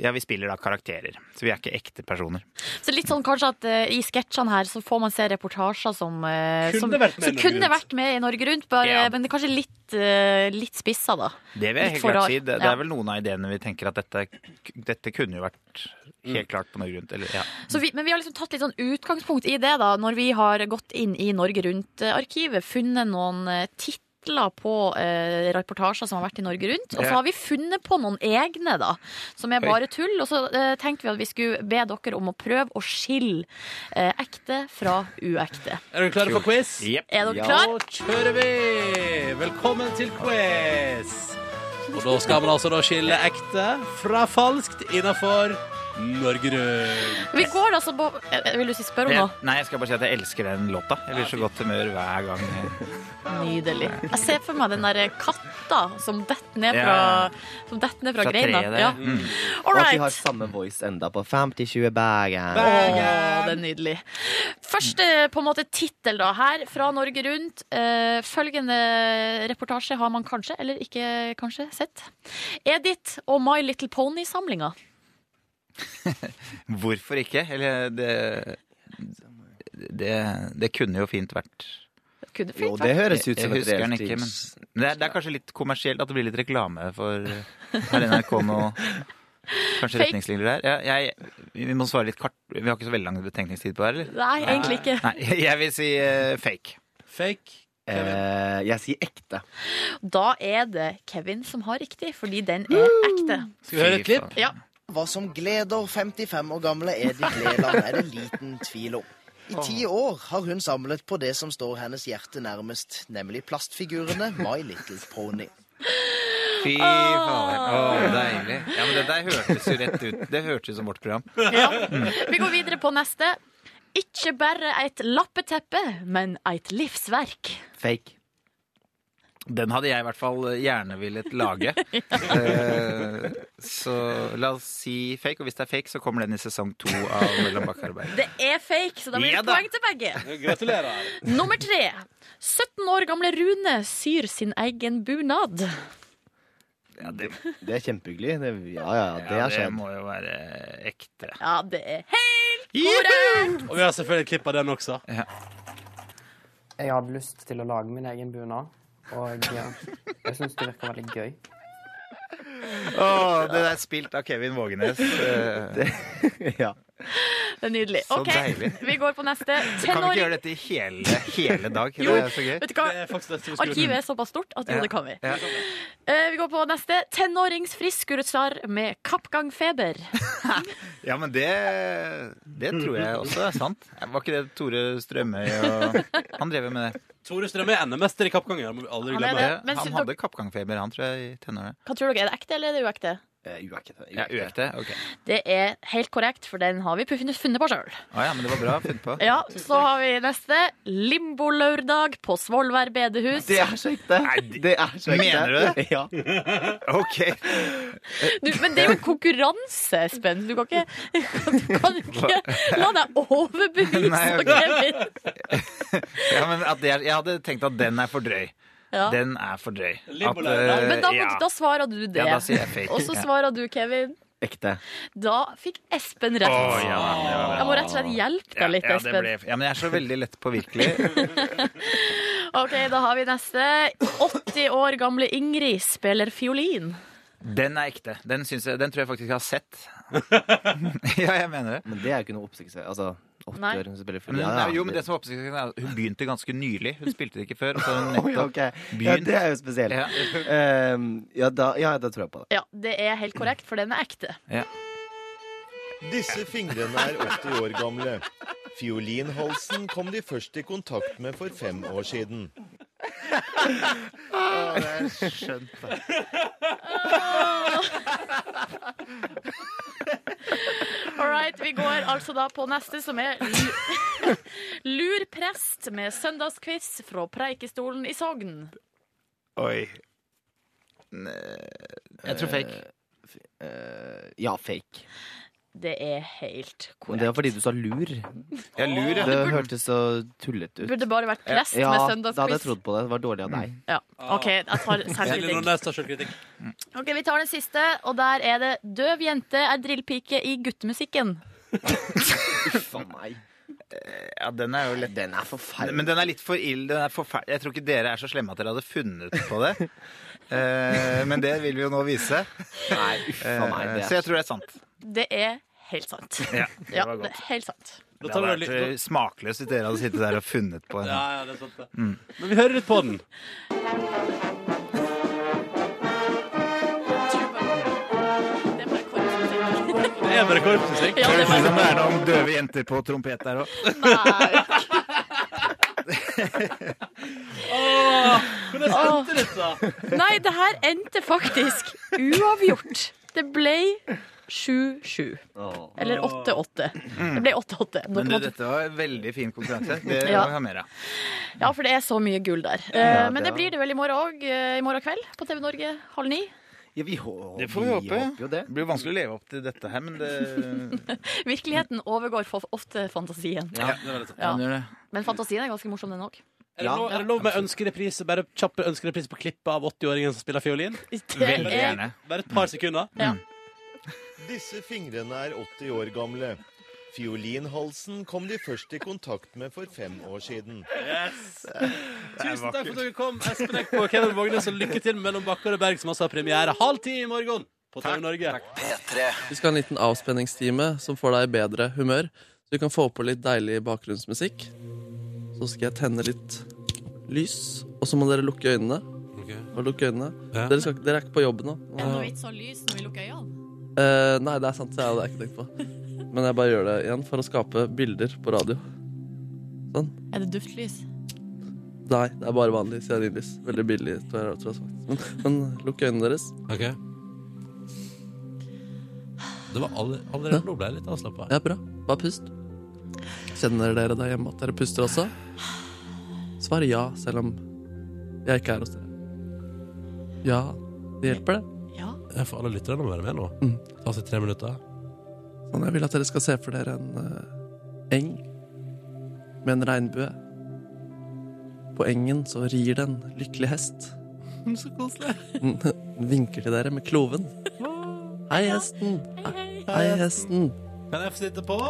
S: ja, vi spiller da karakterer, så vi er ikke ekte personer.
C: Så litt sånn kanskje at eh, i sketsjene her så får man se reportasjer som eh,
S: Kunne
C: som,
S: vært med i
C: som
S: Norge
C: kunne
S: Rundt.
C: vært med i Norge Rundt, bare,
S: Ja.
C: men det er kanskje litt, eh, litt spissa, da.
S: Det vil jeg
C: Litt
S: helt
C: for
S: klart
C: rar.
S: si. Det, det
C: Ja.
S: er vel noen av ideene vi tenker at dette, dette kunne jo vært helt klart på Norge Rundt. Eller, ja.
C: Så vi, men vi har liksom tatt litt sånn utgangspunkt i det, da, når vi har gått inn i Norge Rundt-arkivet, funnet noen eh, titler på eh, reportasjer som har vært i Norge Rundt. Og så
O: Ja.
C: har vi funnet på noen egne, da, som er
O: Oi.
C: bare tull. Og så eh, tenkte vi at vi skulle be dere om å prøve å skille eh, ekte fra uekte.
B: Er dere klare for quiz?
C: Er dere
B: Ja,
C: klare?
B: kjører vi! Velkommen til quiz! Og da skal man altså da skille ekte fra falskt innenfor Norge Rundt.
C: Vi går altså på eh, Vil du si spør om noe?
S: Jeg, nei, jeg skal bare si at jeg elsker den låta. Jeg blir så godt humør hver gang. eh.
C: Nydelig. Jeg ser for meg den der katta som detter ned
Q: Ja.
C: fra, som detter ned fra,
Q: Fra
C: greina.
Q: treet der.
C: Ja.
Q: Mm.
C: All
Q: Og at de
C: right.
Q: har samme voice enda på 50-20 Bergen.
C: Åh, det er nydelig. Første på en måte tittel da, her fra Norge Rundt. Eh, følgende reportasje har man kanskje, eller ikke kanskje, sett. Edith og My Little Pony-samlinga.
S: Hvorfor ikke? Eller det det, det kunne jo fint vært
C: Kunne fint
Q: det
C: vært.
Q: høres ut som
S: Jeg
Q: et
S: husker den
Q: reelt
S: ikke, men
Q: tips.
S: det er, det er kanskje litt kommersielt at det blir litt reklame for Har NRK noe Kanskje
C: Fake.
S: retningslinjer der? Ja, jeg, vi må svare litt kart. Vi har ikke så veldig lang betenkningstid på det her, eller?
C: Nei, egentlig ikke.
S: Nei, jeg vil si eh, fake. Eh,
B: Fake?
Q: jeg sier ekte.
C: Da er det Kevin som har riktig, fordi den er ekte.
Q: Skal vi høre et Fy klipp? faen.
C: Ja.
T: Hva som gleder 55 år gamle Edith Leland, er det liten tvil om. I ti år har hun samlet på det som står hennes hjerte nærmest, nemlig plastfigurene My Little Pony.
S: Fy faen. Åh, deilig. Ja, men det der hørtes jo rett ut. Det hørtes ut som vårt program. Mm.
C: Vi går videre på neste. Ikke bare et lappeteppe, men et livsverk.
S: Fake. Den hadde jeg i hvert fall gjerne villet lage. Eh, så la oss si fake, og hvis det er fake, så kommer den i sesong to av Mellom bakkarbeid.
C: Det er fake, så da blir det
S: Ja da.
C: poeng til begge.
B: Gratulerer.
C: Nummer tre. 17 år gamle Rune syr sin egen bunad.
S: Ja, det,
Q: Det er kjempehyggelig. Det, ja, ja, ja, det
S: ja,
Q: har
S: det
Q: skjedd.
S: må jo være ekte.
C: Ja, det er helt korrekt!
B: Og vi har selvfølgelig et klipp av den også.
U: Jeg hadde lyst til å lage min egen bunad, og eh, jeg syns det virker veldig gøy.
S: Åh, det er spilt av Kevin Vågenes. Eh,
C: Det er nydelig.
S: Så
C: OK,
S: deilig.
C: vi går på
S: Så
C: neste.
S: kan vi ikke
C: Tenåring
S: gjøre dette i hele, hele dag?
C: Jo,
S: det er så gøy.
C: vet du hva? Det er Arkivet er såpass stort at jo,
S: Ja.
C: det kan vi.
S: Ja.
C: Eh, Vi går på neste. Tenåringsfriskursar med kappgangfeber.
S: Ja, men det, det tror jeg også er sant. Var ikke det Tore Strømøy og Han drev jo med det.
B: Tore Strømme er NM-mester i kappgang. Jeg må aldri
C: Han er
B: glemme
C: det.
B: det.
C: Men
S: Han
C: så-
S: hadde kappgangfeber, han, tror jeg, i tenårene.
C: Hva tror dere, er det ekte eller er det uekte?
Q: Uekte.
S: Ja, Eh, uekte. Ok.
C: Det er helt korrekt, for den har vi funnet funnet på sjøl.
S: Å ja, men det var bra funnet på.
C: Ja, så har vi neste. Limbolørdag på Svolvær bedehus.
Q: Det er så ekte. Det er så ekte.
S: Mener du det?
Q: Ja.
S: OK.
C: Du, men det er jo en konkurranse, Espen. Du kan ikke, du kan ikke la deg overbevise,
S: Nei, ok.
C: Kevin.
S: Ja, men at det er, jeg hadde tenkt at den er for drøy.
C: Ja.
S: Den er for drøy. At, eh,
C: Men da, må,
S: ja.
C: da svarer du det.
S: Ja, da sier jeg fake.
C: Og så
S: Ja.
C: svarer du, Kevin.
Q: Ekte.
C: Da fikk Espen rett.
S: Å, ja, det var bra.
C: jeg må rett og slett hjelpe
S: Ja,
C: deg litt,
S: ja, det
C: Espen.
S: ble, ja, men jeg er så veldig lett påvirkelig.
C: Ok, Da har vi neste. 80 år gamle Ingrid spiller fiolin.
S: Den er ekte. Den, syns jeg, den tror jeg faktisk jeg har sett. ja, jeg mener det.
Q: Men det er jo ikke noe oppsikt. Altså, 80
C: Nei.
Q: år hun spiller
S: Men,
Q: film. Ja,
S: nei,
Q: ja.
S: jo, men det som er oppsiktsvekkende er at Hun begynte ganske nylig. Hun spilte det ikke før. Og så har hun
Q: Oi,
S: nettopp
Q: ok. Ja,
S: begynt.
Q: det er jo spesielt.
S: Ja.
Q: Ehm, ja, da, ja, da tror jeg på det.
C: Ja, det er helt korrekt, for den er ekte.
V: Disse fingrene er 80 år gamle. Fiolinhalsen kom de først i kontakt med for fem år siden.
S: det er skjønt,
C: All right, vi går altså da på neste, som er lu- Lurprest med søndagsquiz fra Preikestolen i Sogn.
S: Oi. Jeg tror fake.
Q: Eh, ja, fake.
C: Det er helt
Q: Men det var fordi du sa lur.
S: Ja, lur, ja.
Q: Det hørtes så tullete ut.
C: Burde bare vært prest
Q: ja,
C: med
Q: Da hadde jeg
C: søndagsquiz.
Q: trodd på det. Det var dårlig av deg.
C: Ja, OK, jeg tar selvkritikk. Ok, Vi tar den siste, og der er det 'Døv jente er drillpike i guttemusikken'.
Q: eh,
S: Faen meg. Eh, Ja, den er jo lett. Den er forferdelig. Men den er litt for ild. Den er forferdelig. Jeg tror ikke dere er så slemme at dere hadde funnet på det. Eh, men det vil vi jo nå vise. Nei,
Q: faen meg, det er-
S: Eh, Så jeg tror det er sant.
C: Det er helt sant.
S: Ja, det var godt.
C: det er helt sant.
S: Det hadde vært eh, smakløst hvis dere hadde sittet der og funnet på en.
B: Ja, ja, det er sant det.
S: Mm.
B: Men vi hører litt på den.
S: Det
B: er bare korpsmusikk.
S: Det høres ut som det er noen døve jenter på trompet der òg.
O: Hvordan endte dette?
C: Nei, det her endte faktisk uavgjort. Det ble 7-7. Eller 8-8. Det ble 8-8. Dere
S: Men du,
C: måtte-
S: dette var en veldig fin konkurranse. Det må
C: Ja.
S: vi ha mer av.
C: Ja, for det er så mye gull der. Eh,
S: Ja,
C: Men
S: det
C: det
S: er-
C: blir det vel i morgen òg. I morgen kveld på TV Norge halv ni.
Q: Ja, vi håper
S: Det får vi håpe.
Q: håper jo det.
S: Det blir jo vanskelig å leve opp til dette her, men det
C: Virkeligheten overgår for ofte fantasien.
S: Ja, det var litt
C: Ja.
S: Den gjør det.
C: Men fantasien er ganske morsom, den òg.
B: Er det, lov, er det lov med ønskereprise? Bare kjappe ønskereprise på klippet av 80-åringen som spiller fiolin?
C: Veldig gjerne.
B: Bare et par sekunder.
V: Disse fingrene er 80 år gamle. Fiolinhalsen kom de først i kontakt med for fem år siden.
B: Tusen takk for at dere kom, Espen Eckbo og Kevin Vågnes, og lykke til med Mellom Bakker og Berg, som altså har premiere halv ti i morgen på TV Norge.
I: Vi skal ha en liten avspenningstime som får deg i bedre humør. Så vi kan få på litt deilig bakgrunnsmusikk. Så skal jeg tenne litt lys, og så må dere lukke øynene.
B: Ok.
I: Og lukke øynene.
B: Ja.
I: Dere, skal, dere er ikke på jobb nå.
C: så lys når vi lukker øynene?
I: Eh, nei, det er sant. Det hadde jeg ikke tenkt på. Men jeg bare gjør det igjen for å skape bilder på radio.
C: Er det duftlys?
I: Nei, det er bare vanlig stearinlys. Veldig billig, tror jeg. Tror jeg faktisk. men, men lukk øynene deres.
B: Ok. Det var alle, allerede nå ble jeg litt avslappa.
I: Ja, bra. Bare pust. Kjenner dere der hjemme at dere puster også? Svar ja, selv om jeg ikke er hos dere. Ja, det hjelper, det.
B: Jeg får alle lytterne må være med nå. Ta seg tre minutter.
I: Sånn, jeg vil at dere skal se for dere en eh, eng med en regnbue. På engen så rir det en lykkelig hest.
O: Så koselig.
I: Den vinker til dere med kloven. Hei, hesten. Hei, hesten.
B: Kan jeg få sitte på?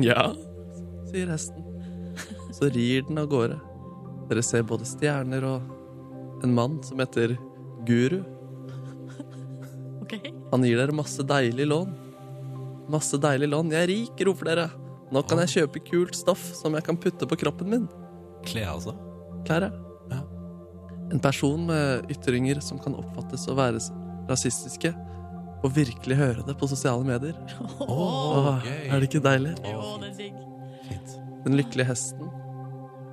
I: Ja, sier hesten. Så rir den av gårde. Dere ser både stjerner og en mann som heter Guru. Han gir dere masse deilig lån. Masse deilig lån. Jeg er rik, roper dere. Nå kan jeg kjøpe kult stoff som jeg kan putte på kroppen min.
B: Kle, altså.
I: Klær, ja. En person med ytringer som kan oppfattes å være s- rasistiske, og virkelig høre det på sosiale medier. Åh,
O: gøy.
I: er det ikke deilig?
O: det er digg.
I: Den lykkelige hesten.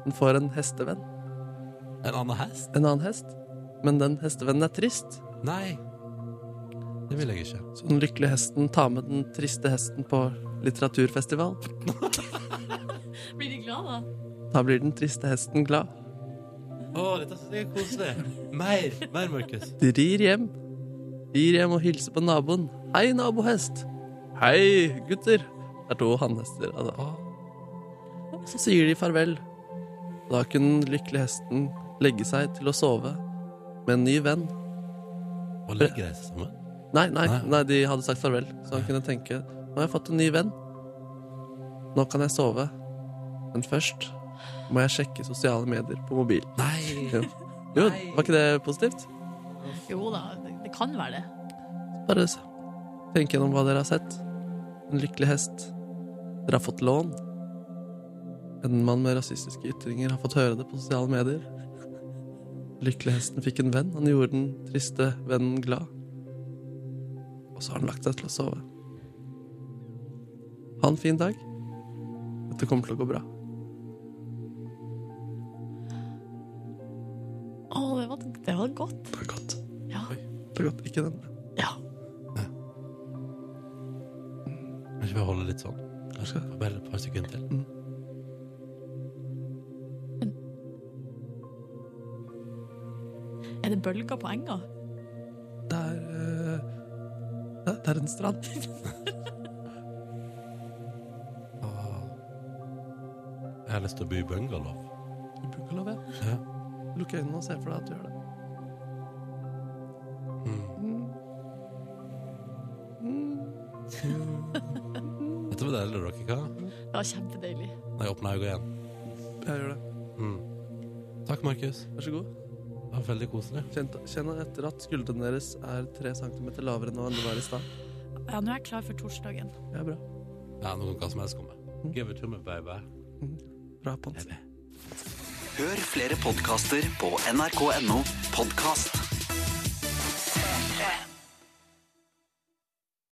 I: Den får en hestevenn.
B: En annen hest?
I: En annen hest. Men den hestevennen er trist.
B: Nei. Det vil jeg ikke.
I: Så den lykkelige hesten tar med den triste hesten på litteraturfestival.
C: Blir de glad, da?
I: Da blir den triste hesten glad.
B: Å, dette synes jeg er koselig. Mer, mer, Markus.
I: De rir hjem. Rir hjem og hilser på naboen. Hei, nabohest. Hei, gutter. Det er to hannhester. Altså. Så sier de farvel. Da kunne den lykkelige hesten legge seg til å sove med en ny venn.
B: Og legger de seg sammen?
I: Nei, nei, nei, de hadde sagt farvel. Så han kunne tenke Nå har jeg fått en ny venn. Nå kan jeg sove. Men først må jeg sjekke sosiale medier på mobil.
B: Nei!
I: Jo, jo var ikke det positivt?
C: Jo da, det- det kan være det.
I: Bare s- tenk gjennom hva dere har sett. En lykkelig hest. Dere har fått lån. En mann med rasistiske ytringer har fått høre det på sosiale medier. Lykkelig hesten fikk en venn. Han gjorde den triste vennen glad. Og så har han lagt seg til å sove. Ha en fin dag. Dette kommer til å gå bra.
C: Å, det var, det var godt. Det var godt. Ja.
I: Det er godt. Ikke den.
B: Kan ikke vi holde litt sånn? Kanskje bare et par sekunder til?
C: Er det bølger på enga?
I: eh, Det er en strand.
B: Jeg har lyst til å bo i bungalow.
I: Bungalow, ja.
B: Ja.
I: Lukk øynene og se for deg at du gjør det.
B: Dette var deilig, dere, hva?
C: Det var kjempedeilig.
B: Nei, åpna øynene igjen.
I: Jeg gjør det.
B: Mm. Takk, Markus.
I: Vær så god.
B: Det var veldig koselig.
I: Kjent- Kjenn etter at skuldrene deres er tre centimeter lavere enn hva de var i stad.
C: Ja, nå er jeg klar for torsdagen.
I: Ja, bra.
B: Ja, nå kan hva som helst komme. Give it to me, baby.
I: Bra, Pons.
W: Hør flere podkaster på nrk.no podkast.